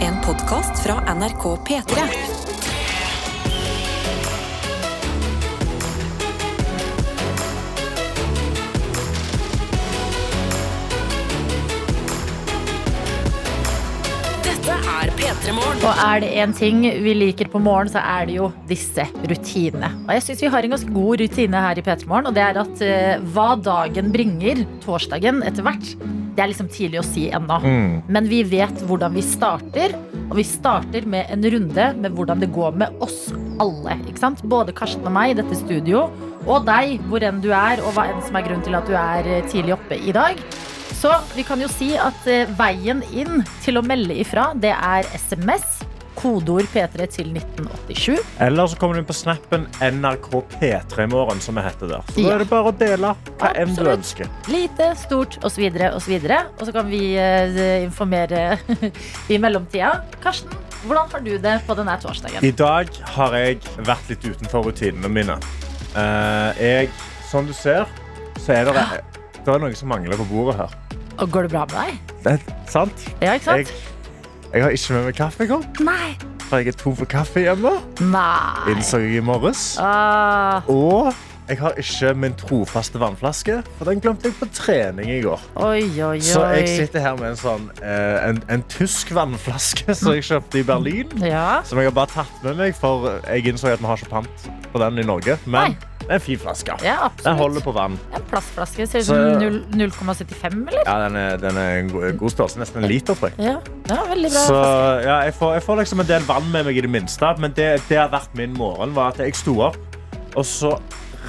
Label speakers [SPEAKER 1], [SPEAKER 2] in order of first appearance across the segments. [SPEAKER 1] En podkast fra NRK P3. Dette er P3 Morgen.
[SPEAKER 2] Og er det én ting vi liker på morgen, så er det jo disse rutinene. Og jeg syns vi har en ganske god rutine her i P3 Morgen, og det er at eh, hva dagen bringer, torsdagen etter hvert, det er liksom tidlig å si ennå.
[SPEAKER 3] Mm.
[SPEAKER 2] Men vi vet hvordan vi starter, og vi starter med en runde med hvordan det går med oss alle. ikke sant? Både Karsten og meg i dette studio, og deg hvor enn du er, og hva enn som er grunnen til at du er eh, tidlig oppe i dag. Så vi kan jo si at eh, veien inn til å melde ifra, det er SMS. Kodeord P3 til 1987.
[SPEAKER 3] Eller så kommer du inn på snappen NRK P3 Morgen, som vi heter der. Så da
[SPEAKER 2] Ja.
[SPEAKER 3] er det bare å dele hva enn du
[SPEAKER 2] Absolutt.
[SPEAKER 3] ønsker.
[SPEAKER 2] Lite, stort osv. osv. Og så kan vi eh, informere i mellomtida. Karsten, hvordan har du det på denne torsdagen?
[SPEAKER 3] I dag har jeg vært litt utenfor rutinene mine. Eh, jeg, som du ser, så er det, det er noe som mangler på bordet her.
[SPEAKER 2] Og går det bra med deg?
[SPEAKER 3] Det er sant.
[SPEAKER 2] Ja, ikke
[SPEAKER 3] Jeg,
[SPEAKER 2] sant?
[SPEAKER 3] jeg har ikke med meg kaffekopp,
[SPEAKER 2] Nei.
[SPEAKER 3] for jeg er tom for kaffe hjemme.
[SPEAKER 2] Nei.
[SPEAKER 3] Innså jeg i morges.
[SPEAKER 2] Ah,
[SPEAKER 3] Og jeg har ikke min trofaste vannflaske, for den glemte jeg på trening i går.
[SPEAKER 2] oi, oi,
[SPEAKER 3] Så jeg
[SPEAKER 2] oi.
[SPEAKER 3] sitter her med en, sånn, eh, en, en tysk vannflaske som jeg kjøpte i Berlin.
[SPEAKER 2] Ja.
[SPEAKER 3] Som jeg har bare tatt med meg, for jeg innså at vi har ikke pant på den i Norge. Men det er en fin flaske.
[SPEAKER 2] ja,
[SPEAKER 3] Den holder
[SPEAKER 2] absolutt.
[SPEAKER 3] på vann.
[SPEAKER 2] En plastflaske. Ser ut
[SPEAKER 3] Så-
[SPEAKER 2] som null- 0,75, eller?
[SPEAKER 3] Ja, den er, den er en god, god størrelse. Nesten en liter, tror jeg.
[SPEAKER 2] Ja, ja veldig bra.
[SPEAKER 3] Så ja, jeg får, jeg får liksom en del vann med meg i det minste. Men det, det har vært min morgen. var at Jeg sto opp, og så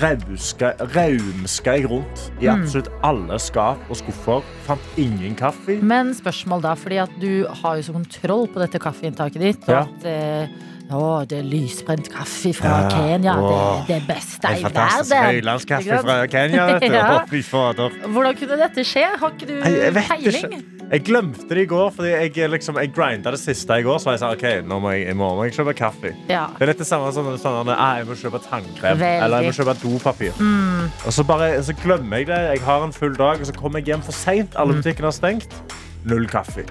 [SPEAKER 3] rauska raumska jeg rundt i
[SPEAKER 2] Mm.
[SPEAKER 3] absolutt alle skap og skuffer. Fant ingen kaffe.
[SPEAKER 2] Men spørsmål da, fordi at du har jo så kontroll på dette kaffeinntaket ditt. Og
[SPEAKER 3] Ja.
[SPEAKER 2] at eh, å, det er lysbrent kaffe fra
[SPEAKER 3] Ja,
[SPEAKER 2] Kenya. Det
[SPEAKER 3] åh.
[SPEAKER 2] er det beste i
[SPEAKER 3] En fantastisk
[SPEAKER 2] verden.
[SPEAKER 3] høylandskaffe
[SPEAKER 2] Ikke
[SPEAKER 3] fra Kenya. Vet du.
[SPEAKER 2] Ja.
[SPEAKER 3] Å, Fy fader.
[SPEAKER 2] Hvordan kunne dette skje? Har ikke du
[SPEAKER 3] Nei, jeg vet
[SPEAKER 2] peiling?
[SPEAKER 3] Jeg glemte det i går, fordi jeg, liksom, jeg grinda det siste i går. Så var jeg sa, ok, nå må jeg, i morgen må jeg kjøpe kaffe.
[SPEAKER 2] Ja.
[SPEAKER 3] Det er litt det samme som sånn, ah, jeg må kjøpe tannkrem
[SPEAKER 2] Veldig. Mm.
[SPEAKER 3] eller jeg må kjøpe dopapir. Og så, bare, så glemmer jeg det. Jeg har en full dag, og så kommer jeg hjem for seint.
[SPEAKER 2] Mm.
[SPEAKER 3] Alle butikkene har stengt. Null kaffe.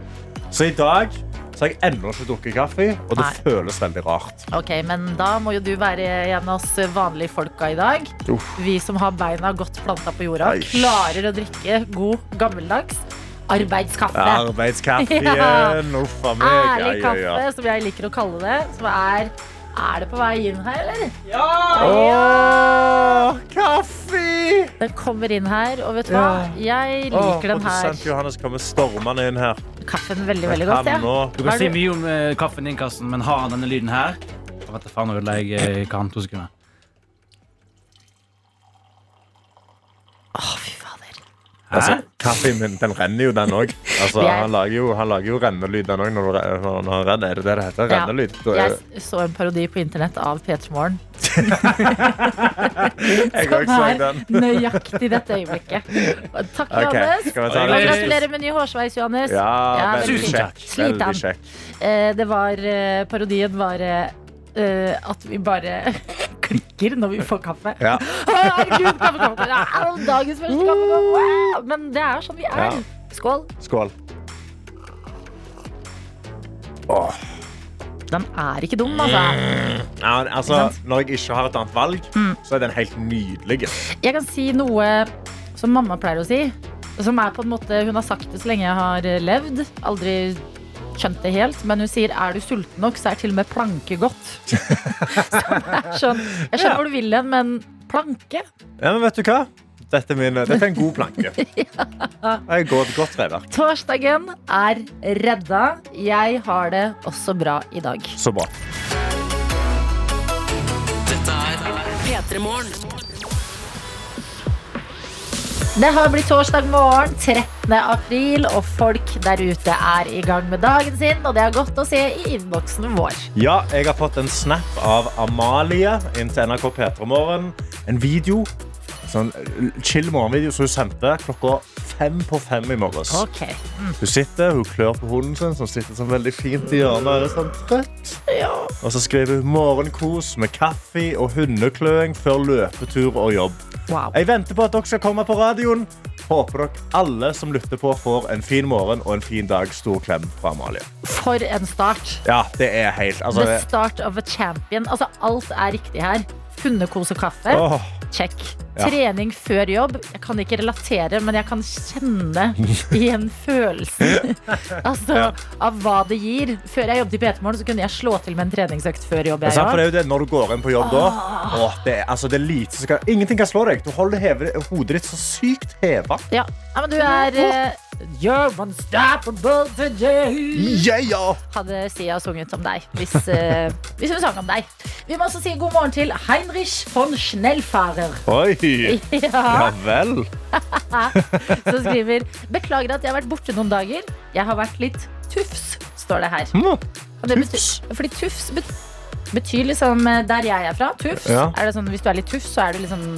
[SPEAKER 3] Så i dag så har jeg ennå ikke drukket kaffe, og det
[SPEAKER 2] Nei.
[SPEAKER 3] føles veldig rart.
[SPEAKER 2] Ok, men da må jo du være en av oss vanlige folka i dag.
[SPEAKER 3] Uff.
[SPEAKER 2] Vi som har beina godt planta på jorda.
[SPEAKER 3] Nei.
[SPEAKER 2] Klarer å drikke god, gammeldags arbeidskaffe.
[SPEAKER 3] Arbeidskaffe
[SPEAKER 2] Ja.
[SPEAKER 3] igjen. Uff a meg.
[SPEAKER 2] Ærlig
[SPEAKER 3] Ja, ja, ja.
[SPEAKER 2] kaffe, som jeg liker å kalle det. Som er Er det på vei inn her, eller?
[SPEAKER 3] Åh, kaffe!
[SPEAKER 2] Den kommer inn her, og vet du hva? Jeg liker
[SPEAKER 3] Åh,
[SPEAKER 2] den her
[SPEAKER 3] Produsent Johannes kommer stormende inn her.
[SPEAKER 2] kaffen veldig, veldig godt.
[SPEAKER 3] Han
[SPEAKER 2] Ja.
[SPEAKER 3] nå.
[SPEAKER 4] Du kan
[SPEAKER 2] Er
[SPEAKER 4] si
[SPEAKER 2] du-
[SPEAKER 4] mye om eh, kaffen din, Karsten, men har han denne lyden her? Jeg vet da faen nå ødela jeg eh, hva han to sekunder.
[SPEAKER 2] Å, fy fader.
[SPEAKER 3] Altså, kaffen min den renner jo, den òg. Altså,
[SPEAKER 2] Jeg-
[SPEAKER 3] han, lager jo- han lager jo rennelyd, den òg, når, du re- når han renner. Er det det det heter?
[SPEAKER 2] Ja.
[SPEAKER 3] Rennelyd? Da er-
[SPEAKER 2] Jeg s- så en parodi på internett av P3 Morgen
[SPEAKER 3] Jeg
[SPEAKER 2] som
[SPEAKER 3] òg så
[SPEAKER 2] er
[SPEAKER 3] den.
[SPEAKER 2] nøyaktig dette øyeblikket. Og Takk,
[SPEAKER 3] Ok,
[SPEAKER 2] Johannes.
[SPEAKER 3] skal vi ta
[SPEAKER 2] Og
[SPEAKER 4] det?
[SPEAKER 2] gratulerer med ny hårsveis, Johannes.
[SPEAKER 3] Ja, veldig
[SPEAKER 4] Tusen
[SPEAKER 3] kjekk.
[SPEAKER 4] takk.
[SPEAKER 2] Slit
[SPEAKER 3] Veldig
[SPEAKER 2] han.
[SPEAKER 3] kjekk.
[SPEAKER 2] Eh, Det var eh, Parodien var eh, eh, at vi bare klikker når vi får kaffe.
[SPEAKER 3] Ja.
[SPEAKER 2] Å, Herregud, kaffe, kaffe. Det er all dagens første kaffe. Wow! Men det er sånn vi er.
[SPEAKER 3] Ja.
[SPEAKER 2] Skål.
[SPEAKER 3] Skål. Åh.
[SPEAKER 2] Den er ikke dum, altså.
[SPEAKER 3] Mm. Ja, men altså, når jeg ikke har et annet valg,
[SPEAKER 2] Mm.
[SPEAKER 3] så er den helt nydelig.
[SPEAKER 2] Jeg kan si noe som mamma pleier å si. Som er på en måte, Hun har sagt det så lenge jeg har eh, levd. Aldri skjønt det helt. Men hun sier er du sulten nok, så er til og med planke godt. så det er sånn, Jeg skjønner hvor du vil hen, men planke?
[SPEAKER 3] Ja, men vet du hva? Dette er, min, dette er en god planke. Jeg går et godt reverk.
[SPEAKER 2] Torsdagen er redda. Jeg har det også bra i dag.
[SPEAKER 3] Så bra.
[SPEAKER 1] P3 Morgen.
[SPEAKER 2] Det har blitt torsdag morgen 13. april, og folk der ute er i gang med dagen sin. Og det er godt å se i innboksen vår.
[SPEAKER 3] Ja, jeg har fått en snap av Amalie inn til NRK P3morgen. En video. Sånn chill morgenvideo som hun sendte klokka fem på fem i morges.
[SPEAKER 2] Ok,
[SPEAKER 3] Hun sitter, hun klør på hunden sin, som sitter sånn veldig fint i hjørnet. Er sånn trøtt. Og så skriver hun morgenkos med kaffe og hundekløing før løpetur og jobb.
[SPEAKER 2] wow.
[SPEAKER 3] Jeg venter på at dere skal komme på radioen. Håper dere alle som lytter på, får en fin morgen og en fin dag. Stor klem fra Amalie.
[SPEAKER 2] For en start.
[SPEAKER 3] Ja, det er helt altså,
[SPEAKER 2] The
[SPEAKER 3] det,
[SPEAKER 2] start of a champion. Altså, alt er riktig her. Hundekos og kaffe.
[SPEAKER 3] Åh.
[SPEAKER 2] Check.
[SPEAKER 3] Ja.
[SPEAKER 2] Trening før jobb. Jeg kan ikke relatere, men jeg kan kjenne igjen følelsen altså, av hva det gir. Før jeg jobbet i PT Morgen, så kunne jeg slå til med en treningsøkt før jobb.
[SPEAKER 3] Det er
[SPEAKER 2] Jeg,
[SPEAKER 3] sant, for
[SPEAKER 2] også.
[SPEAKER 3] det er jo det når du går inn på jobb da.
[SPEAKER 2] Ah.
[SPEAKER 3] Åh, det er, altså, det er lite som kan Ingenting kan slå deg. Du holder heve, hodet ditt så sykt heva.
[SPEAKER 2] ja. Ja, men du er eh, You're unstoppable today.
[SPEAKER 3] Yeah, ja.
[SPEAKER 2] hadde Sia sunget om deg. Hvis, eh, hvis hun sang om deg. Vi må også si god morgen til Heinrich von Schnellfarer.
[SPEAKER 3] Oi.
[SPEAKER 2] Ja,
[SPEAKER 3] Ja vel.
[SPEAKER 2] som skriver Beklager at jeg har vært borte noen dager. Jeg har vært litt tufs, står det her.
[SPEAKER 3] Mm.
[SPEAKER 2] Og det betyr,
[SPEAKER 3] Tufs?
[SPEAKER 2] fordi tufs bet betyr liksom eh, der jeg er fra. Tufs.
[SPEAKER 3] Ja.
[SPEAKER 2] Er det sånn, hvis du er litt tufs, så er du litt sånn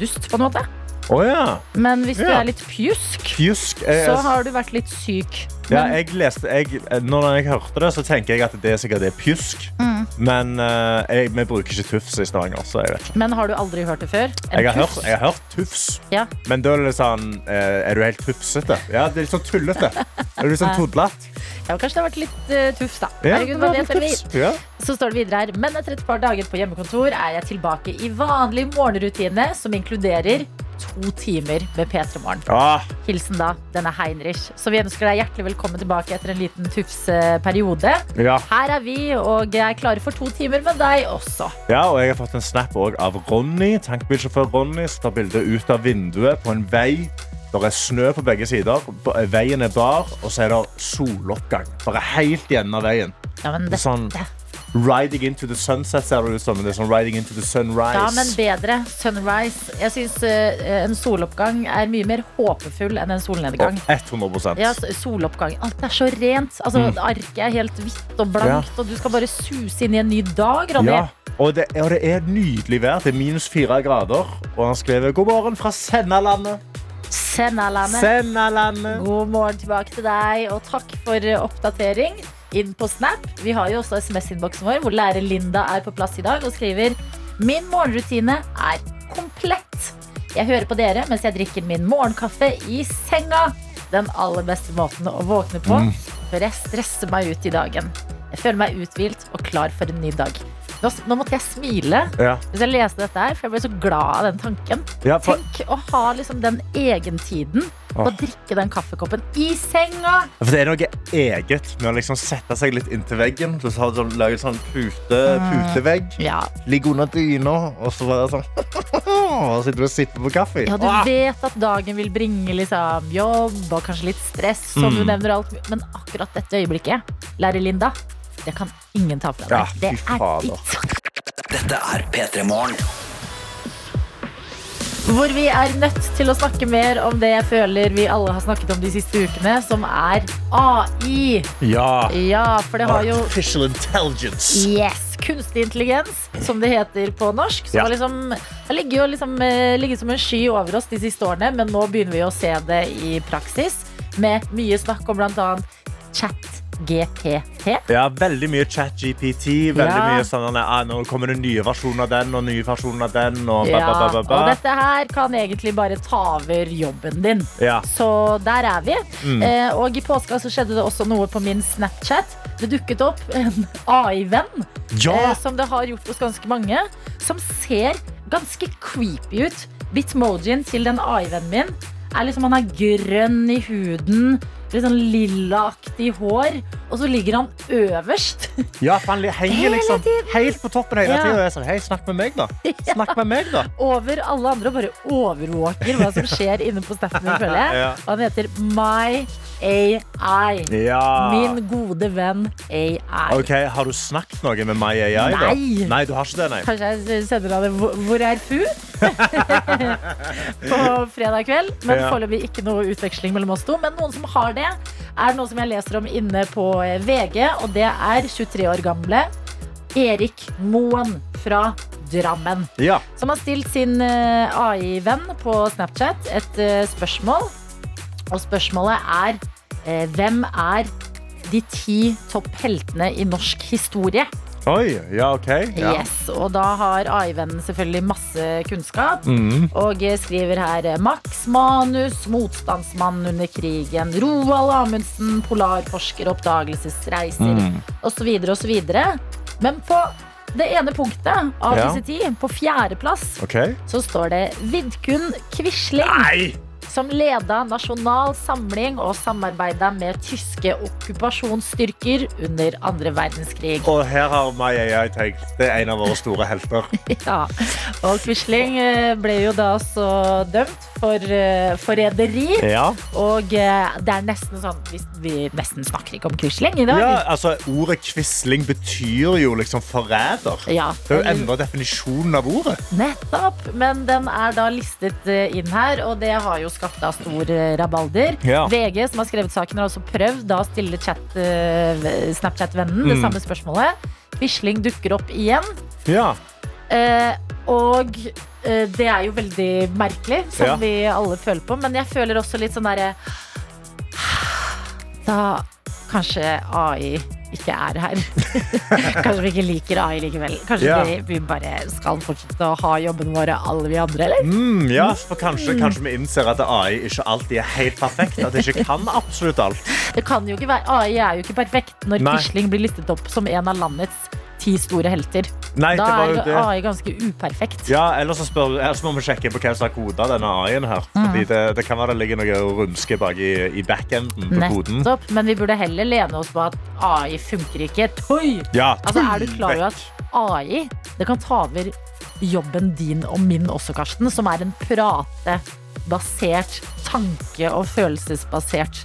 [SPEAKER 2] dust, på en måte.
[SPEAKER 3] Å ja.
[SPEAKER 2] Men hvis du
[SPEAKER 3] Ja.
[SPEAKER 2] er litt pjusk,
[SPEAKER 3] Pjusk. eh,
[SPEAKER 2] så
[SPEAKER 3] altså, Jeg,
[SPEAKER 2] har du vært litt syk.
[SPEAKER 3] ja, jeg leste, jeg, når jeg hørte det, så tenker jeg at det er sikkert det er pjusk.
[SPEAKER 2] Mm.
[SPEAKER 3] Men eh, jeg, vi bruker ikke tufs i Stavanger. Så jeg, vet ikke.
[SPEAKER 2] Men har du aldri hørt det før? En
[SPEAKER 3] jeg, har
[SPEAKER 2] tufs?
[SPEAKER 3] hørt, jeg har hørt tufs.
[SPEAKER 2] Ja.
[SPEAKER 3] Men da er det sånn eh, Er du helt tufsete? Ja, det er litt sånn tullete. Er du litt sånn tudlete?
[SPEAKER 2] Ja, men kanskje det har vært litt eh, tufs, da.
[SPEAKER 3] Ja,
[SPEAKER 2] Herregud, hva
[SPEAKER 3] det
[SPEAKER 2] vet
[SPEAKER 3] var
[SPEAKER 2] vel vi?
[SPEAKER 3] tufs. Ja.
[SPEAKER 2] Så står det videre her Men etter et par dager på hjemmekontor er jeg tilbake i vanlig morgenrutine som inkluderer to timer med P3 Morgen.
[SPEAKER 3] Ah,
[SPEAKER 2] Hilsen da denne Heinrich. Så vi ønsker deg hjertelig velkommen tilbake etter en liten eh, tufseperiode.
[SPEAKER 3] ja.
[SPEAKER 2] Her er vi, og jeg er klare for to timer med deg også.
[SPEAKER 3] Ja, og jeg har fått en snap også av Ronny, tankbilsjåfør Ronny, som tar bildet ut av vinduet på en vei. Det er snø på begge sider, b- veien er bar, og så er det soloppgang. Bare helt igjen av veien.
[SPEAKER 2] Ja, men dette
[SPEAKER 3] Det er sånn riding into the sunset, ser det ut som. men Det er sånn riding into the sunrise.
[SPEAKER 2] ja, men bedre. Sunrise. Jeg syns en soloppgang er mye mer håpefull enn en solnedgang.
[SPEAKER 3] 100
[SPEAKER 2] Ja, s- soloppgang. Alt er så rent. Altså,
[SPEAKER 3] Mm.
[SPEAKER 2] Arket er helt hvitt og blankt, og du skal bare suse inn i en ny dag, Ronny.
[SPEAKER 3] Ja, og det, og det er nydelig vær. Det er minus fire grader. Og han skrev 'God morgen fra Sennalandet'.
[SPEAKER 2] Sennalandet.
[SPEAKER 3] Sennalandet.
[SPEAKER 2] God morgen tilbake til deg, og takk for eh, oppdatering. Inn på Snap. Vi har jo også SMS-innboksen vår, hvor lærer Linda er på plass i dag og skriver Min morgenrutine er komplett. Jeg hører på dere mens jeg drikker min morgenkaffe i senga. Den aller beste måten å våkne på før jeg stresser meg ut i dagen. Jeg føler meg uthvilt og klar for en ny dag. Nå, nå måtte jeg smile
[SPEAKER 3] Ja.
[SPEAKER 2] hvis jeg leste dette her, for jeg ble så glad av den tanken.
[SPEAKER 3] Ja, for-
[SPEAKER 2] Tenk å ha liksom den egentiden på å
[SPEAKER 3] Åh.
[SPEAKER 2] drikke den kaffekoppen i senga.
[SPEAKER 3] For det er noe eget med å liksom sette seg litt inntil veggen. Så har du sånn, lager sånn pute, putevegg.
[SPEAKER 2] Mm. Ja,
[SPEAKER 3] Ligge under dyna, og så bare sånn Og sitter du og sipper på kaffe.
[SPEAKER 2] ja du vet at dagen vil bringe liksom jobb og kanskje litt stress, som
[SPEAKER 3] Mm.
[SPEAKER 2] du nevner alt. Men akkurat dette øyeblikket, lærer Linda, det kan ingen ta fra deg.
[SPEAKER 3] Ja,
[SPEAKER 2] det
[SPEAKER 3] fy altså. fader.
[SPEAKER 2] ikke
[SPEAKER 5] Dette er P3 Morgen.
[SPEAKER 2] Hvor vi er nødt til å snakke mer om det jeg føler vi alle har snakket om de siste ukene, som er AI.
[SPEAKER 3] Ja.
[SPEAKER 2] Ja, for det har jo
[SPEAKER 3] Artificial intelligence.
[SPEAKER 2] Yes, Kunstig intelligens, som det heter på norsk. Som
[SPEAKER 3] Ja.
[SPEAKER 2] har liksom, har ligget, jo liksom, eh, ligget som en sky over oss de siste årene, men nå begynner vi å se det i praksis. Med mye snakk om bl.a. chat-GPT.
[SPEAKER 3] Ja, veldig mye ChatGPT. Veldig
[SPEAKER 2] Ja.
[SPEAKER 3] mye sånn ah, Nå kommer det nye versjoner av den og nye versjoner av den. Og ba, ba,
[SPEAKER 2] Ja,
[SPEAKER 3] ba,
[SPEAKER 2] og
[SPEAKER 3] ba, ba.
[SPEAKER 2] dette her kan egentlig bare ta over jobben din.
[SPEAKER 3] Ja.
[SPEAKER 2] Så der er vi.
[SPEAKER 3] Mm.
[SPEAKER 2] Eh, og i påska så skjedde det også noe på min Snapchat. Det dukket opp en AI-venn.
[SPEAKER 3] ja.
[SPEAKER 2] eh, som det har gjort hos ganske mange, som ser ganske creepy ut. Bitmojien til den AI-vennen min er liksom han er grønn i huden, litt sånn lillaaktig hår, og så ligger han øverst.
[SPEAKER 3] ja for han li- henger liksom helt på toppen hele
[SPEAKER 2] Ja.
[SPEAKER 3] tida. Og jeg sier hei, snakk med meg, da. Snakk med meg, da.
[SPEAKER 2] over alle andre og bare overvåker hva som skjer inne på snappen min, føler jeg.
[SPEAKER 3] Ja.
[SPEAKER 2] Og han heter My AI.
[SPEAKER 3] Ja.
[SPEAKER 2] Min gode venn AI.
[SPEAKER 3] Ok, Har du snakket noe med MyAI? da?
[SPEAKER 2] Nei.
[SPEAKER 3] Nei, du har ikke det, nei.
[SPEAKER 2] Kanskje jeg sender han en 'Hvor- 'Hvor er Fu?' på fredag kveld. Men
[SPEAKER 3] Ja.
[SPEAKER 2] foreløpig ikke noe utveksling mellom oss to. Men noen som har det, er noe som jeg leser om inne på eh, VG, og det er 23 år gamle Erik Moen fra Drammen.
[SPEAKER 3] Ja.
[SPEAKER 2] Som har stilt sin eh, AI-venn på Snapchat et eh, spørsmål. Og spørsmålet er eh, hvem er de ti topp heltene i norsk historie?
[SPEAKER 3] Oi, ja, OK. Ja.
[SPEAKER 2] Yes, og da har AI-vennen selvfølgelig masse kunnskap.
[SPEAKER 3] Mm,
[SPEAKER 2] Og skriver her eh, Max Manus, motstandsmann under krigen. Roald Amundsen, polarforsker, oppdagelsesreiser
[SPEAKER 3] Mm.
[SPEAKER 2] osv. osv. Men på det ene punktet av
[SPEAKER 3] Ja.
[SPEAKER 2] disse ti, på fjerdeplass,
[SPEAKER 3] OK.
[SPEAKER 2] så står det Vidkun Quisling,
[SPEAKER 3] Nei!
[SPEAKER 2] som leda nasjonal samling og samarbeida med tyske okkupasjonsstyrker under andre verdenskrig.
[SPEAKER 3] Og her har Maya tenkt. Det er en av våre store helter.
[SPEAKER 2] Ja, og Quisling eh, ble jo da så dømt for eh, forræderi.
[SPEAKER 3] Ja.
[SPEAKER 2] Og eh, det er nesten sånn Vi, vi nesten snakker ikke om Quisling i dag.
[SPEAKER 3] ja, altså Ordet quisling betyr jo liksom forræder.
[SPEAKER 2] Ja,
[SPEAKER 3] Det er jo endra definisjonen av ordet.
[SPEAKER 2] nettopp. Men den er da listet eh, inn her, og det har jo skapt da stor eh, rabalder.
[SPEAKER 3] Ja.
[SPEAKER 2] VG, som har skrevet saken, har også prøvd da å stille chat, eh, Snapchat-vennen
[SPEAKER 3] Mm.
[SPEAKER 2] det samme spørsmålet. Quisling dukker opp igjen.
[SPEAKER 3] Ja.
[SPEAKER 2] Eh, og eh, det er jo veldig merkelig, som
[SPEAKER 3] Ja.
[SPEAKER 2] vi alle føler på. Men jeg føler også litt sånn derre "Ah, Da kanskje AI ikke er her. kanskje vi ikke liker AI likevel. Kanskje
[SPEAKER 3] Ja.
[SPEAKER 2] vi, vi bare skal fortsette å ha jobben våre, alle vi andre, eller?
[SPEAKER 3] Mm, ja, for kanskje, kanskje vi innser at AI ikke alltid er helt perfekt. At det ikke kan absolutt alt.
[SPEAKER 2] Det kan jo ikke være, AI er jo ikke perfekt når
[SPEAKER 3] Nei.
[SPEAKER 2] Quisling blir listet opp som en av landets ti store helter.
[SPEAKER 3] Nei, det
[SPEAKER 2] da
[SPEAKER 3] var jo
[SPEAKER 2] er
[SPEAKER 3] det.
[SPEAKER 2] AI ganske uperfekt.
[SPEAKER 3] Ja, ellers, så spør, ellers må vi sjekke på hvem som har koda denne AI-en her.
[SPEAKER 2] Mhm.
[SPEAKER 3] Fordi det, det kan være det ligger noe rumske bak i, i backenden på koden.
[SPEAKER 2] Nettopp, men vi burde heller lene oss på at AI funker ikke. Tøy!
[SPEAKER 3] Ja,
[SPEAKER 2] Altså, er du klar
[SPEAKER 3] vekk.
[SPEAKER 2] over at AI det kan ta over jobben din og min også, Karsten, som er en pratebasert, tanke- og følelsesbasert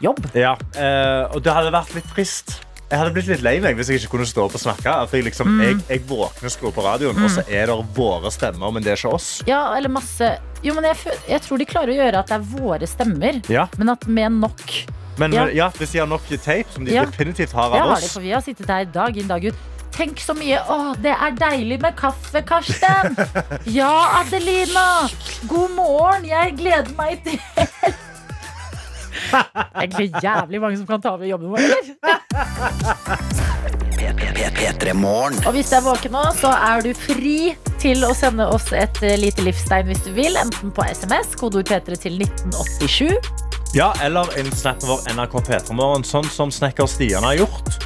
[SPEAKER 2] jobb?
[SPEAKER 3] Ja, eh, og det hadde vært litt trist. Jeg hadde blitt litt lei meg hvis jeg ikke kunne stå opp og snakke. At jeg,
[SPEAKER 2] Mhm.
[SPEAKER 3] liksom, jeg, jeg våkner og skrur på radioen, og så er det våre stemmer, men det er ikke oss.
[SPEAKER 2] Ja, eller masse Jo, men jeg, fø- jeg tror de klarer å gjøre at det er våre stemmer,
[SPEAKER 3] Ja,
[SPEAKER 2] men at med nok
[SPEAKER 3] men
[SPEAKER 2] Ja.
[SPEAKER 3] men- ja, hvis de har nok tape, som de
[SPEAKER 2] Ja.
[SPEAKER 3] definitivt har av
[SPEAKER 2] Ja, har det,
[SPEAKER 3] oss
[SPEAKER 2] for vi har sittet her dag inn, dag ut. Tenk så mye. Å, det er deilig med kaffe, Karsten. Ja, Adelina. God morgen. Jeg gleder meg til Egentlig jævlig mange som kan ta over jobben vår. eller?
[SPEAKER 5] P3 Morgen.
[SPEAKER 2] Og hvis du er våken nå, så er du fri til å sende oss et eh, lite livstegn hvis du vil. Enten på SMS, kodeord P3 til 1987.
[SPEAKER 3] Ja, eller en snap vår NRK P3morgen, sånn som snekker Stian har gjort.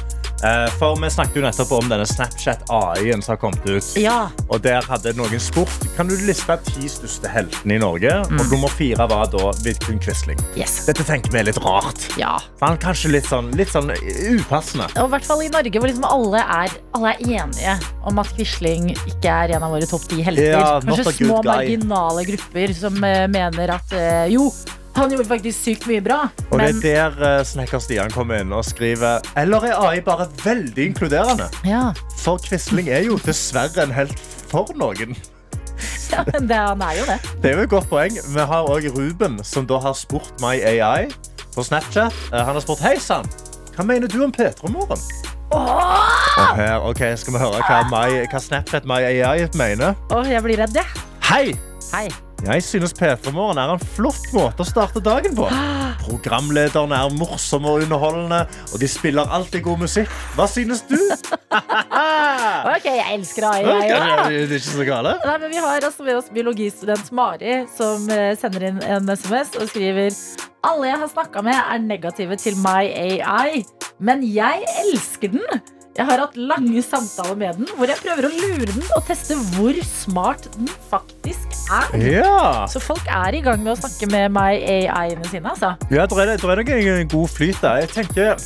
[SPEAKER 3] Eh, For vi snakket jo nettopp om denne Snapchat-AI-en som har kommet ut.
[SPEAKER 2] Ja.
[SPEAKER 3] Og der hadde noen spurt Kan du liste ti største heltene i Norge.
[SPEAKER 2] Mm.
[SPEAKER 3] Og nummer fire var da Vidkun Quisling.
[SPEAKER 2] Yes.
[SPEAKER 3] Dette tenker vi er litt rart.
[SPEAKER 2] Ja.
[SPEAKER 3] For han er kanskje litt sånn, litt sånn upassende.
[SPEAKER 2] Og i hvert fall i Norge, hvor liksom alle er, alle er enige om at Quisling ikke er en av våre topp ti helter.
[SPEAKER 3] Ja, not a
[SPEAKER 2] Kanskje
[SPEAKER 3] good
[SPEAKER 2] små
[SPEAKER 3] guy.
[SPEAKER 2] marginale grupper som eh, mener at eh, jo, han gjorde faktisk sykt mye bra,
[SPEAKER 3] Og
[SPEAKER 2] men
[SPEAKER 3] det er der eh, snekker Stian kommer inn og skriver Eller er AI bare veldig inkluderende?
[SPEAKER 2] ja,
[SPEAKER 3] For Quisling er jo dessverre en helt for noen.
[SPEAKER 2] ja, men det, han er jo det.
[SPEAKER 3] Det er jo et godt poeng. Vi har også Ruben, som da har spurt My AI på Snapchat. Eh, Han har spurt Hei sann, hva mener du om P3morgen? Og her, ok, Skal vi høre hva, my, hva Snapchat My AI mener?
[SPEAKER 2] Åh, jeg blir redd, jeg.
[SPEAKER 3] Hei!
[SPEAKER 2] Hei.
[SPEAKER 3] Jeg synes P3morgen er en flott måte å starte dagen på. Programlederne er morsomme og underholdende, og de spiller alltid god musikk. Hva synes du?
[SPEAKER 2] Ok, jeg elsker AI,
[SPEAKER 3] Ok,
[SPEAKER 2] jeg
[SPEAKER 3] Det
[SPEAKER 2] òg.
[SPEAKER 3] er ikke så gale.
[SPEAKER 2] Nei, men vi har altså med oss biologistudent Mari, som eh, sender inn en SMS og skriver Alle jeg har snakka med, er negative til My AI, men jeg elsker den. Jeg har hatt lange samtaler med den hvor jeg prøver å lure den og teste hvor smart den faktisk er.
[SPEAKER 3] Ja.
[SPEAKER 2] Så folk er i gang med å snakke med My AI-ene sine, altså.
[SPEAKER 3] Ja, der er, det- der er noe en god flyt der. Jeg tenker,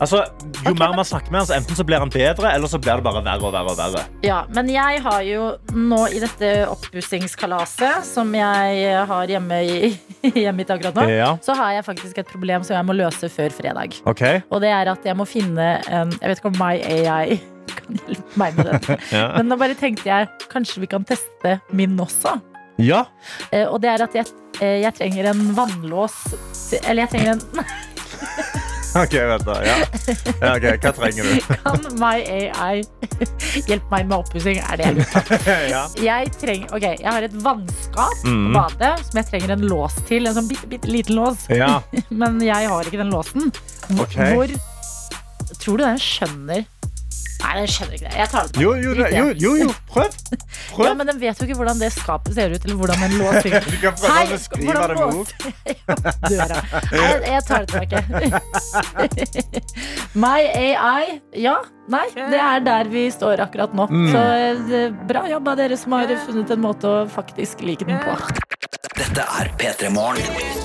[SPEAKER 3] altså, jo
[SPEAKER 2] Ok,
[SPEAKER 3] mer
[SPEAKER 2] men-
[SPEAKER 3] man snakker med han, så enten så blir han bedre, eller så blir det bare verre og verre. og verre.
[SPEAKER 2] Ja, men jeg har jo nå i dette oppussingskalaset som jeg har hjemme i hjemmet mitt akkurat nå,
[SPEAKER 3] Ja.
[SPEAKER 2] så har jeg faktisk et problem som jeg må løse før fredag.
[SPEAKER 3] Ok?
[SPEAKER 2] Og det er at jeg må finne en Jeg vet ikke om My AI kan hjelpe meg med det.
[SPEAKER 3] Ja.
[SPEAKER 2] Men da bare tenkte jeg kanskje vi kan teste min også.
[SPEAKER 3] ja.
[SPEAKER 2] Eh, Og det er at jeg, eh, jeg trenger en vannlås til- Eller jeg trenger en
[SPEAKER 3] Ok, vent da. Ja. Ja, ok, Hva trenger du?
[SPEAKER 2] Kan My AI hjelpe meg med oppussing? Er det jeg lurer på?
[SPEAKER 3] ja.
[SPEAKER 2] jeg trenger, ok, jeg har et vannskap på
[SPEAKER 3] Mm.
[SPEAKER 2] badet som jeg trenger en lås til. En sånn bitte, bitte liten lås.
[SPEAKER 3] Ja.
[SPEAKER 2] Men jeg har ikke den låsen. Hvor-
[SPEAKER 3] Ok.
[SPEAKER 2] Hvor Tror du den skjønner Nei, jeg skjønner ikke det. Jeg tar det på.
[SPEAKER 3] Jo, jo,
[SPEAKER 2] Drit i det.
[SPEAKER 3] jo, jo, jo. prøv. Prøv.
[SPEAKER 2] Ja, men den vet jo ikke hvordan det skapet ser ut, eller hvordan en lås fungerer.
[SPEAKER 3] Du kan prøve å beskrive det med ord.
[SPEAKER 2] Døra. Jeg, jeg tar det tilbake. My AI. Ja. Nei, det er der vi står akkurat nå.
[SPEAKER 3] Mm.
[SPEAKER 2] Så eh, bra jobba, dere som har funnet en måte å faktisk like den på.
[SPEAKER 5] Dette er P3 Morgen.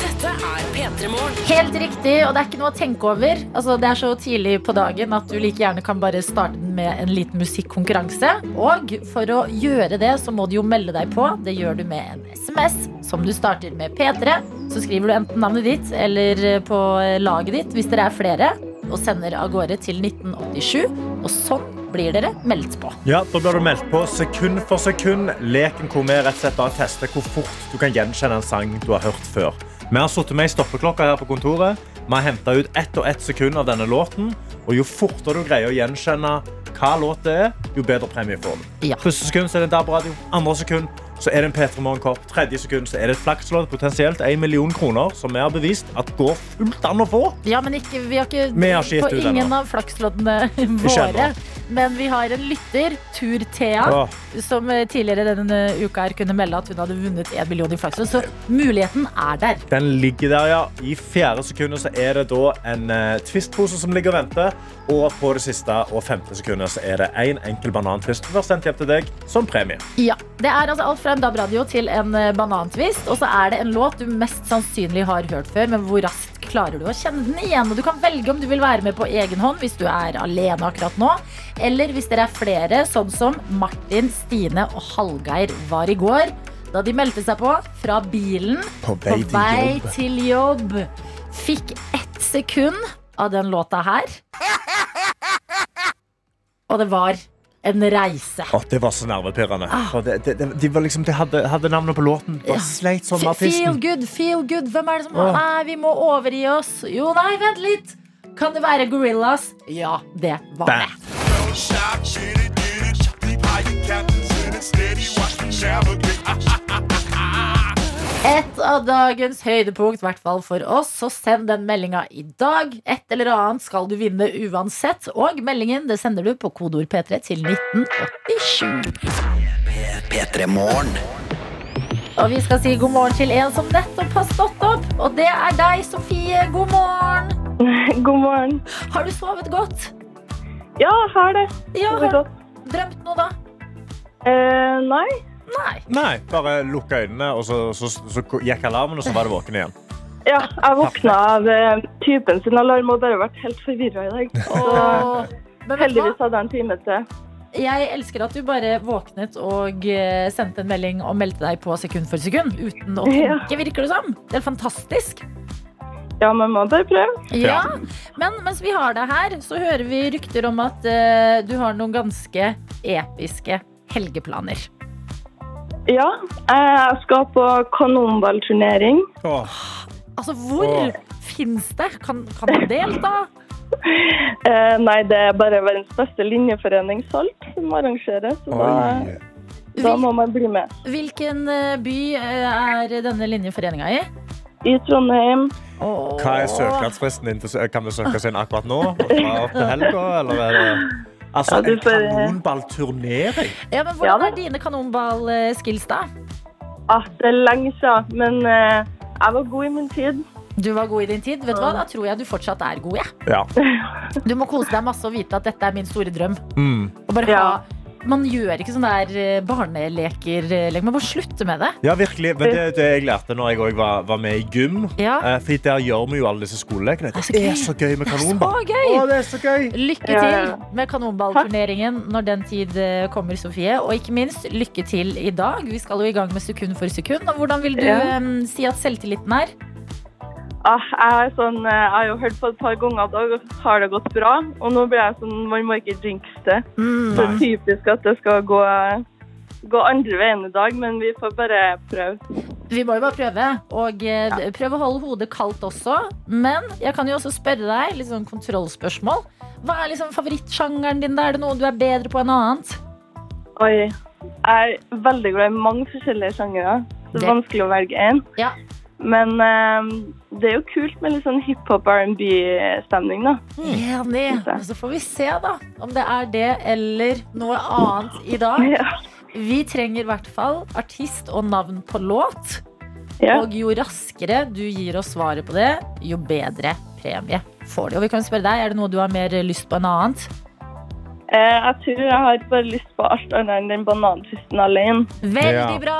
[SPEAKER 1] Dette er P3 Morgen.
[SPEAKER 2] Helt riktig, og det er ikke noe å tenke over. Altså, det er så tidlig på dagen at du like gjerne kan bare starte den med en liten musikkonkurranse. Og for å gjøre det, så må du jo melde deg på. Det gjør du med en SMS som du starter med P3. Så skriver du enten navnet ditt eller eh, på laget ditt hvis dere er flere, og sender av gårde til 1987. Og sånn blir dere meldt på.
[SPEAKER 3] Ja, Da blir du meldt på sekund for sekund. Leken hvor vi rett og slett bare tester hvor fort du kan gjenkjenne en sang du har hørt før. Vi har sittet med i stoppeklokka her på kontoret. Vi har henta ut ett og ett sekund av denne låten. Og jo fortere du greier å gjenkjenne hva låt det er, jo bedre premie får du.
[SPEAKER 2] Ja.
[SPEAKER 3] Første sekund så er det en DAB-radio. Andre sekund så er det en P3 Morgenkopp. Tredje sekund så er det et flakslodd, potensielt 1 million kroner, som vi har bevist at går fullt an å få.
[SPEAKER 2] Ja, men ikke, vi har ikke,
[SPEAKER 3] Vi har ikke gitt
[SPEAKER 2] på
[SPEAKER 3] ut
[SPEAKER 2] ingen
[SPEAKER 3] ennå.
[SPEAKER 2] av flaksloddene våre.
[SPEAKER 3] ennå.
[SPEAKER 2] Men vi har en lytter, Tur Thea,
[SPEAKER 3] Åh.
[SPEAKER 2] som eh, tidligere denne uka her kunne melde at hun hadde vunnet 1 million i flakslodd. Så muligheten er der.
[SPEAKER 3] Den ligger der, ja. I fjerde sekundet så er det da en eh, twistpose som ligger og venter. Og på det siste og femte sekundet så er det én en enkel banantwist som blir sendt hjem til deg som premie.
[SPEAKER 2] Ja, Det er altså alt fra en DAB-radio til en eh, banantvist. Og så er det en låt du mest sannsynlig har hørt før, men hvor raskt klarer du å kjenne den igjen? Og du kan velge om du vil være med på egen hånd hvis du er alene akkurat nå, eller hvis dere er flere, sånn som Martin, Stine og Hallgeir var i går. Da de meldte seg på fra bilen
[SPEAKER 3] På
[SPEAKER 2] på vei til jobb. Fikk ett sekund av den låta her. Og det var en reise.
[SPEAKER 3] Å, det var så nervepirrende. Ah. For det, det, det, de var liksom, de hadde, hadde navnet på låten. Bare sleit sånn med
[SPEAKER 2] Fe- Feel
[SPEAKER 3] artisten.
[SPEAKER 2] good, feel good. Hvem er det som
[SPEAKER 3] Åh.
[SPEAKER 2] Nei, vi må overgi oss. Jo, nei, vent litt. Kan det være Gorillas? Ja, det var
[SPEAKER 3] Bam.
[SPEAKER 2] det.
[SPEAKER 6] Stop, get it, get it. Be high, you captain, sit it steady, watch me navigate.
[SPEAKER 2] Et av dagens høydepunkt, i hvert fall for oss, så send den meldinga i dag. Et eller annet skal du vinne uansett. Og meldingen det sender du på kodeord P3 til 1987.
[SPEAKER 5] P3 Morgen.
[SPEAKER 2] Og vi skal si god morgen til en som nettopp har stått opp. Og det er deg, Sofie. God morgen.
[SPEAKER 7] God morgen.
[SPEAKER 2] Har du sovet godt?
[SPEAKER 7] Ja, har det.
[SPEAKER 2] Ja,
[SPEAKER 7] Sovet
[SPEAKER 2] har
[SPEAKER 7] godt.
[SPEAKER 2] du drømt noe, da?
[SPEAKER 7] Eh, nei.
[SPEAKER 2] Nei.
[SPEAKER 3] Nei, bare lukka øynene, og så, så, så, gikk alarmen, og så var du våken igjen.
[SPEAKER 7] Ja, jeg våkna av eh, typen sin alarm og bare vært helt forvirra i dag. Så
[SPEAKER 2] Og, men vet du hva?
[SPEAKER 7] heldigvis hadde jeg en time til.
[SPEAKER 2] Jeg elsker at du bare våknet og eh, sendte en melding og meldte deg på sekund for sekund. Uten å
[SPEAKER 7] Ja.
[SPEAKER 2] tenke, virker det som. Det er fantastisk.
[SPEAKER 7] Ja, man må bare prøve.
[SPEAKER 2] Ja. Men mens vi har deg her, så hører vi rykter om at eh, du har noen ganske episke helgeplaner.
[SPEAKER 7] Ja, eh, jeg skal på kanonballturnering.
[SPEAKER 3] Åh,
[SPEAKER 2] Altså, hvor
[SPEAKER 3] Åh.
[SPEAKER 2] fins det? Kan, kan man delta?
[SPEAKER 7] Eh, nei, det er bare verdens beste linjeforening, Salt, som arrangerer, så da,
[SPEAKER 3] oi.
[SPEAKER 7] da må man bli med.
[SPEAKER 2] Hvilken eh, by eh, er denne linjeforeninga i?
[SPEAKER 7] I Trondheim.
[SPEAKER 3] Hva er søknadsfristen din? til- Kan vi søke oss inn akkurat nå? Og dra opp til helga, eller er det Altså,
[SPEAKER 7] Ja, du
[SPEAKER 3] en
[SPEAKER 7] får-
[SPEAKER 3] kanonballturnering?
[SPEAKER 2] Ja, men
[SPEAKER 7] Ja
[SPEAKER 2] Hvordan
[SPEAKER 7] da.
[SPEAKER 2] er dine kanonballskills, da?
[SPEAKER 7] Ah, det er lenge siden, men eh, jeg var god i min tid.
[SPEAKER 2] Du var god i din tid. Vet du hva? Da tror jeg du fortsatt er god. jeg.
[SPEAKER 3] Ja.
[SPEAKER 2] Du må kose deg masse og vite at dette er min store drøm.
[SPEAKER 3] Mm.
[SPEAKER 2] Og bare
[SPEAKER 7] Ja.
[SPEAKER 2] ha, man gjør ikke sånne der eh, barneleker. eh, lenger. Man må slutte med det.
[SPEAKER 3] Ja, virkelig. Men det er det jeg lærte når jeg også var, var med i gym.
[SPEAKER 2] Ja.
[SPEAKER 3] Eh, fordi der gjør vi jo alle disse skolelekene.
[SPEAKER 2] Det er så
[SPEAKER 3] Det
[SPEAKER 2] gøy.
[SPEAKER 3] er så gøy med Eh, kanonball.
[SPEAKER 2] Så gøy!
[SPEAKER 3] Å, det er så gøy.
[SPEAKER 2] Lykke
[SPEAKER 7] Ja, ja,
[SPEAKER 2] til
[SPEAKER 7] ja.
[SPEAKER 2] med kanonballturneringen når den tid eh, kommer, Sofie. Og ikke minst, lykke til i dag. Vi skal jo i gang med sekund for sekund. Og hvordan vil du
[SPEAKER 7] Ja.
[SPEAKER 2] eh, si at selvtilliten er?
[SPEAKER 7] Ah, jeg, er sånn, eh, jeg har jo hørt på et par ganger at da har det gått bra, og nå blir jeg sånn, man må ikke jinxe det.
[SPEAKER 2] Mm.
[SPEAKER 7] Det er
[SPEAKER 3] Nei.
[SPEAKER 7] typisk at det skal gå, gå andre veien i dag, men vi får bare prøve.
[SPEAKER 2] Vi må jo bare prøve. Og eh, prøv å holde hodet kaldt også. Men jeg kan jo også spørre deg litt sånn kontrollspørsmål. Hva er liksom favorittsjangeren din? da? Er det noe du er bedre på enn annet?
[SPEAKER 7] Oi, jeg er veldig glad i mange forskjellige sjangere. så Det
[SPEAKER 2] Det-
[SPEAKER 7] er vanskelig å velge én.
[SPEAKER 2] Ja.
[SPEAKER 7] Men eh, det er jo kult med litt sånn hiphop R&B-stemning, da.
[SPEAKER 2] Enig. Og så får vi se, da, om det er det eller noe annet i dag.
[SPEAKER 7] Ja.
[SPEAKER 2] Vi trenger i hvert fall artist og navn på låt.
[SPEAKER 7] ja.
[SPEAKER 2] Og jo raskere du gir oss svaret på det, jo bedre premie får du. Og vi kan spørre deg, er det noe du har mer lyst på enn annet?
[SPEAKER 7] Eh, jeg tror jeg har bare lyst på alt annet enn den bananfisten alene.
[SPEAKER 2] Veldig
[SPEAKER 3] Ja.
[SPEAKER 2] bra!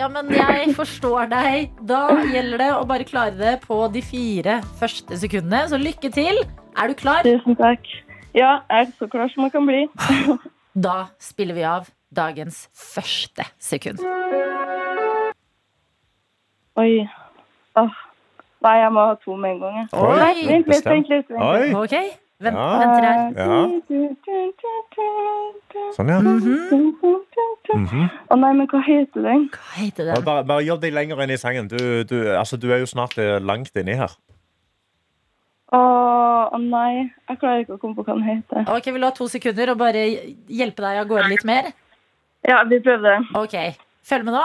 [SPEAKER 2] Ja, men jeg forstår deg. Da gjelder det å bare klare det på de fire første sekundene. Så lykke til. Er du klar?
[SPEAKER 7] Tusen takk. Ja, jeg er så klar som jeg kan bli.
[SPEAKER 2] Da spiller vi av dagens første sekund.
[SPEAKER 7] Oi. Åh. Nei, jeg må ha to med en gang. jeg.
[SPEAKER 2] Oi.
[SPEAKER 7] Vent litt, vent litt. Vent litt.
[SPEAKER 3] Oi.
[SPEAKER 2] Ok, vent,
[SPEAKER 3] Ja.
[SPEAKER 2] venter her.
[SPEAKER 3] Ja. Sånn, ja.
[SPEAKER 7] Mm. Mhm.
[SPEAKER 3] Mhm.
[SPEAKER 7] Å nei, men hva heter den?
[SPEAKER 2] Hva heter
[SPEAKER 3] Ja,
[SPEAKER 2] den?
[SPEAKER 3] Bare, bare jobb deg lenger inn i sangen. Du, du, altså, du er jo snart eh, langt inni her.
[SPEAKER 7] Å å nei, jeg klarer ikke å komme på hva den heter.
[SPEAKER 2] Ok, Vil du ha to sekunder og bare hjelpe deg av gårde litt mer?
[SPEAKER 7] Ja, vi prøvde.
[SPEAKER 2] Ok, Følg med nå.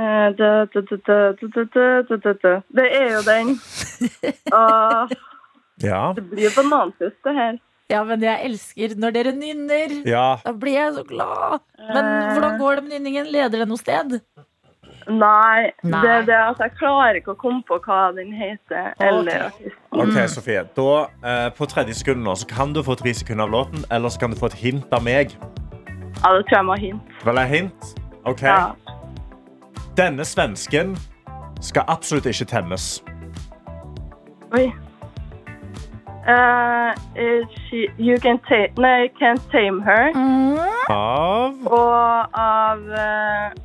[SPEAKER 7] Eh, da, da, da, da, da, da, da, da, da. Det er jo den. Åh,
[SPEAKER 3] Ja.
[SPEAKER 7] det blir bananfest, det her.
[SPEAKER 2] Ja, men jeg elsker når dere nynner.
[SPEAKER 3] Ja.
[SPEAKER 2] Da blir jeg så glad. Men hvordan går det med nynningen? Leder det noe sted?
[SPEAKER 7] Nei,
[SPEAKER 2] Nei.
[SPEAKER 7] det er det at jeg klarer ikke å komme på hva den heter. Eller artisten.
[SPEAKER 3] OK, Sofie. Da, eh, på 30 sekunder nå, så kan du få tre sekunder av låten, eller så kan du få et hint av meg.
[SPEAKER 7] Ja, det tror jeg må ha hint.
[SPEAKER 3] Vel, et hint? OK.
[SPEAKER 7] Ja.
[SPEAKER 3] Denne svensken skal absolutt ikke temmes.
[SPEAKER 7] Oi. Eh, eh, she, you can ta- nei, can't tame her.
[SPEAKER 2] Mm.
[SPEAKER 3] Av
[SPEAKER 7] Og av eh,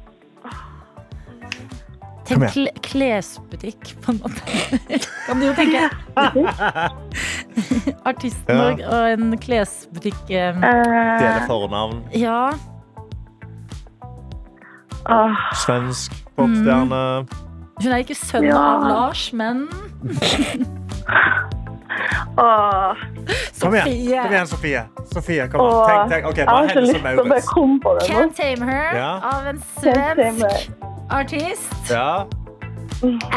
[SPEAKER 3] Kom
[SPEAKER 2] Tenk kle- klesbutikk, på en måte. Kan du jo tenke. Artisten
[SPEAKER 3] Ja.
[SPEAKER 2] og, og en klesbutikk eh,
[SPEAKER 3] dele
[SPEAKER 7] eh,
[SPEAKER 3] fornavn.
[SPEAKER 2] Ja.
[SPEAKER 7] åh,
[SPEAKER 3] Svensk popstjerne.
[SPEAKER 2] Mm. Hun er ikke sønn
[SPEAKER 7] Ja.
[SPEAKER 2] av Lars, men
[SPEAKER 7] åh.
[SPEAKER 3] Kom igjen,
[SPEAKER 2] Sofie.
[SPEAKER 3] kom igjen Sofie. Sofie kom
[SPEAKER 7] Åh,
[SPEAKER 3] igjen. Tenk, tenk. OK,
[SPEAKER 7] Jeg
[SPEAKER 3] bare
[SPEAKER 7] har så
[SPEAKER 3] henne
[SPEAKER 7] lyst
[SPEAKER 3] som
[SPEAKER 7] til å bare
[SPEAKER 3] Maurits.
[SPEAKER 7] komme på det nå.
[SPEAKER 2] Can't Tame Her
[SPEAKER 3] Ja.
[SPEAKER 2] av en
[SPEAKER 7] Can't Tame
[SPEAKER 2] svensk artist.
[SPEAKER 3] Ja.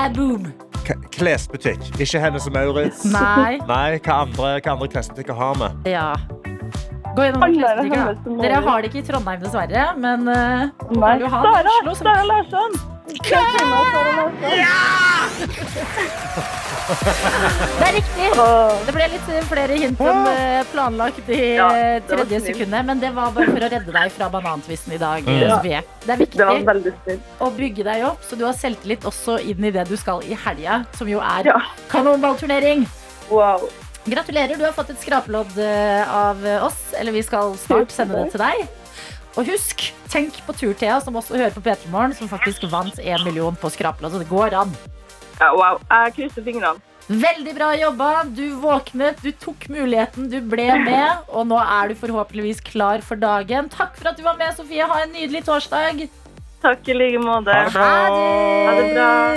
[SPEAKER 2] Aboom.
[SPEAKER 3] K klesbutikk. Ikke henne som Maurits.
[SPEAKER 2] Nei.
[SPEAKER 3] Nei, hva andre, hva andre klesbutikker har vi?
[SPEAKER 2] Ja. Gå gjennom
[SPEAKER 7] Alle er
[SPEAKER 2] klesbutikken, da.
[SPEAKER 7] hennes som
[SPEAKER 2] Dere
[SPEAKER 7] måler.
[SPEAKER 2] har det ikke i Trondheim, dessverre. Men eh,
[SPEAKER 7] Nei,
[SPEAKER 2] har du han i
[SPEAKER 7] Sara,
[SPEAKER 2] Oslo som
[SPEAKER 7] Sara Larsson! Can't tame her, Sara Larsson.
[SPEAKER 2] Det er riktig!
[SPEAKER 7] Åh,
[SPEAKER 2] Det ble litt eh, flere hint enn eh, planlagt i
[SPEAKER 7] Ja,
[SPEAKER 2] eh,
[SPEAKER 7] det var
[SPEAKER 2] tredje
[SPEAKER 7] snilt.
[SPEAKER 2] sekundet, men det var bare for å redde deg fra banantvisten i dag, eh,
[SPEAKER 7] Ja.
[SPEAKER 2] Sofie. Det er
[SPEAKER 7] Det var
[SPEAKER 2] viktig
[SPEAKER 7] veldig snilt.
[SPEAKER 2] å bygge deg opp, så du har selvtillit også inn i det du skal i helga, som jo er
[SPEAKER 7] Ja.
[SPEAKER 2] kanonballturnering.
[SPEAKER 7] Wow.
[SPEAKER 2] Gratulerer, du har fått et skrapelodd eh, av oss. Eller vi skal snart sende det til deg. Og husk, tenk på Tur-Thea, som også hører på P3 Morgen, som faktisk vant én million på skrapelodd. Så det går an.
[SPEAKER 7] Ja, wow. Jeg krysser fingrene.
[SPEAKER 2] Veldig bra jobba. Du våknet, du tok muligheten, du ble med. Og nå er du forhåpentligvis klar for dagen. Takk for at du var med, Sofie. Ha en nydelig torsdag.
[SPEAKER 7] Takk i like måte. Ha det bra.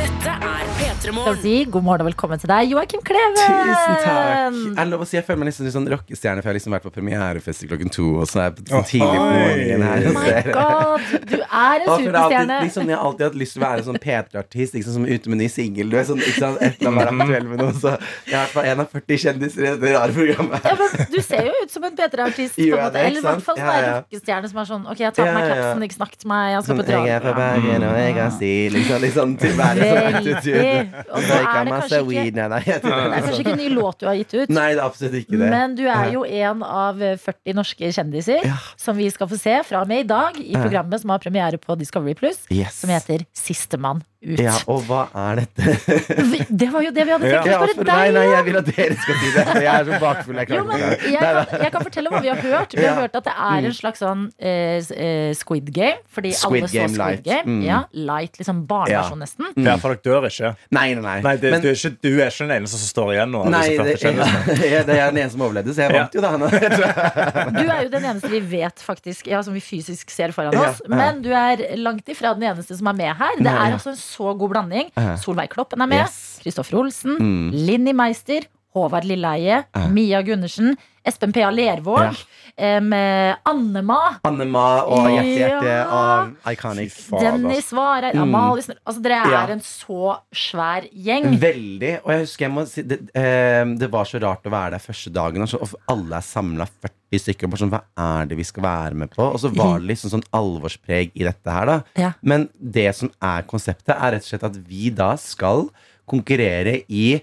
[SPEAKER 1] Dette er P3
[SPEAKER 2] Skal
[SPEAKER 1] Morgen.
[SPEAKER 2] si god morgen og velkommen til deg, Joakim Kleven.
[SPEAKER 8] Tusen takk. Jeg, lov å si, jeg føler meg nesten litt sånn rockestjerne, for jeg har liksom vært på premierefest klokken to. Og så er jeg på- sånn tidlig på morgenen her.
[SPEAKER 2] Oh my god, du er en
[SPEAKER 8] Og for det er alltid,
[SPEAKER 2] superstjerne.
[SPEAKER 8] liksom, jeg har alltid hatt lyst til å være en sånn P3-artist liksom, som er ute med ny singel. Du er sånn, ikke sant, etter å være aktuell med noe, så jeg er i hvert fall en av 40 kjendiser i dette rare programmet.
[SPEAKER 2] Ja, men du ser jo ut som en P3-artist. på en
[SPEAKER 8] Gjør jeg
[SPEAKER 2] måte.
[SPEAKER 8] det, ikke
[SPEAKER 2] Eller i hvert fall sånn
[SPEAKER 8] sant? Ja,
[SPEAKER 2] ja,
[SPEAKER 8] ja.
[SPEAKER 2] rockestjerne som er sånn OK, jeg tar på meg
[SPEAKER 8] Ja, ja.
[SPEAKER 2] kapsen, ikke snakk til meg, jeg skal
[SPEAKER 8] Sånn,
[SPEAKER 2] på
[SPEAKER 8] jeg er fra
[SPEAKER 2] teater.
[SPEAKER 8] Bergen, og jeg har stil. Liksom, liksom, til være sånn
[SPEAKER 2] Veldig.
[SPEAKER 8] attitude.
[SPEAKER 2] Og så
[SPEAKER 8] Så jeg
[SPEAKER 2] er
[SPEAKER 8] kan
[SPEAKER 2] det
[SPEAKER 8] masse
[SPEAKER 2] kanskje
[SPEAKER 8] altså, weed.
[SPEAKER 2] ikke
[SPEAKER 8] Nei, nei, jeg-
[SPEAKER 2] det er kanskje ikke en ny låt du har gitt ut,
[SPEAKER 8] Nei, det er absolutt ikke det. Eh.
[SPEAKER 2] men du er jo en av 40 norske kjendiser
[SPEAKER 8] Ja. Eh.
[SPEAKER 2] som vi skal få se fra og med i dag i programmet som har premiere på Discovery Pluss,
[SPEAKER 8] Yes.
[SPEAKER 2] som heter Sistemann ut.
[SPEAKER 8] Ja, og hva er dette?
[SPEAKER 2] Vi- Det var jo det vi hadde tenkt å
[SPEAKER 8] Ja, for-
[SPEAKER 2] spørre
[SPEAKER 8] nei,
[SPEAKER 2] deg
[SPEAKER 8] nei, jeg vil at dere skal si det. For jeg er så bakfull. Jeg
[SPEAKER 2] Jo,
[SPEAKER 8] klarer
[SPEAKER 2] men
[SPEAKER 8] ikke det.
[SPEAKER 2] jeg kan, jeg kan fortelle hva vi har hørt. Vi har
[SPEAKER 8] Ja. Mm.
[SPEAKER 2] hørt at det er en slags sånn eh, s- eh, Squid Game. Fordi
[SPEAKER 8] Squid
[SPEAKER 2] alle så
[SPEAKER 8] Game
[SPEAKER 2] Squid
[SPEAKER 8] light.
[SPEAKER 2] Game.
[SPEAKER 8] Mm.
[SPEAKER 2] Ja, light, liksom barneversjon nesten.
[SPEAKER 3] Ja, for dere dør ikke.
[SPEAKER 8] Nei, Mm. nei, nei.
[SPEAKER 3] Nei, det,
[SPEAKER 8] Men-
[SPEAKER 3] du, er ikke, du er ikke den eneste som står igjen nå. av
[SPEAKER 8] nei,
[SPEAKER 3] disse
[SPEAKER 8] det,
[SPEAKER 3] 40 kjendisene.
[SPEAKER 8] ja, det er den ene som overlevde, så jeg vant jo da. nå.
[SPEAKER 2] Du er jo den eneste vi vet faktisk Ja, som vi fysisk ser foran
[SPEAKER 8] Ja,
[SPEAKER 2] oss.
[SPEAKER 8] ja.
[SPEAKER 2] Men du er langt ifra den eneste som er med her. Det
[SPEAKER 8] Nei,
[SPEAKER 2] er
[SPEAKER 8] ja.
[SPEAKER 2] altså en så god blanding.
[SPEAKER 8] Ja.
[SPEAKER 2] Solveig Kloppen er med.
[SPEAKER 8] Yes. Mm.
[SPEAKER 2] Kristoffer Olsen. Linni Meister. Håvard Lilleheie. Mia Gundersen. Espen P.A. Lervåg. eh, med Annema.
[SPEAKER 8] Annema og
[SPEAKER 2] Ja.
[SPEAKER 8] Hjerte Hjerte og Iconic. altså.
[SPEAKER 2] Dennis Vareid, Amalie Snørre Altså, dere er
[SPEAKER 8] Mm. Ja.
[SPEAKER 2] en så svær gjeng.
[SPEAKER 8] Veldig. Og jeg husker jeg må si det, eh, det var så rart å være der første dagen. Og, så, og alle er samla 40 stykker. Og bare sånn, Hva er det vi skal være med på? Og så var det liksom sånn alvorspreg i dette her, da.
[SPEAKER 2] Ja.
[SPEAKER 8] Men det som er konseptet, er rett og slett at vi da skal konkurrere i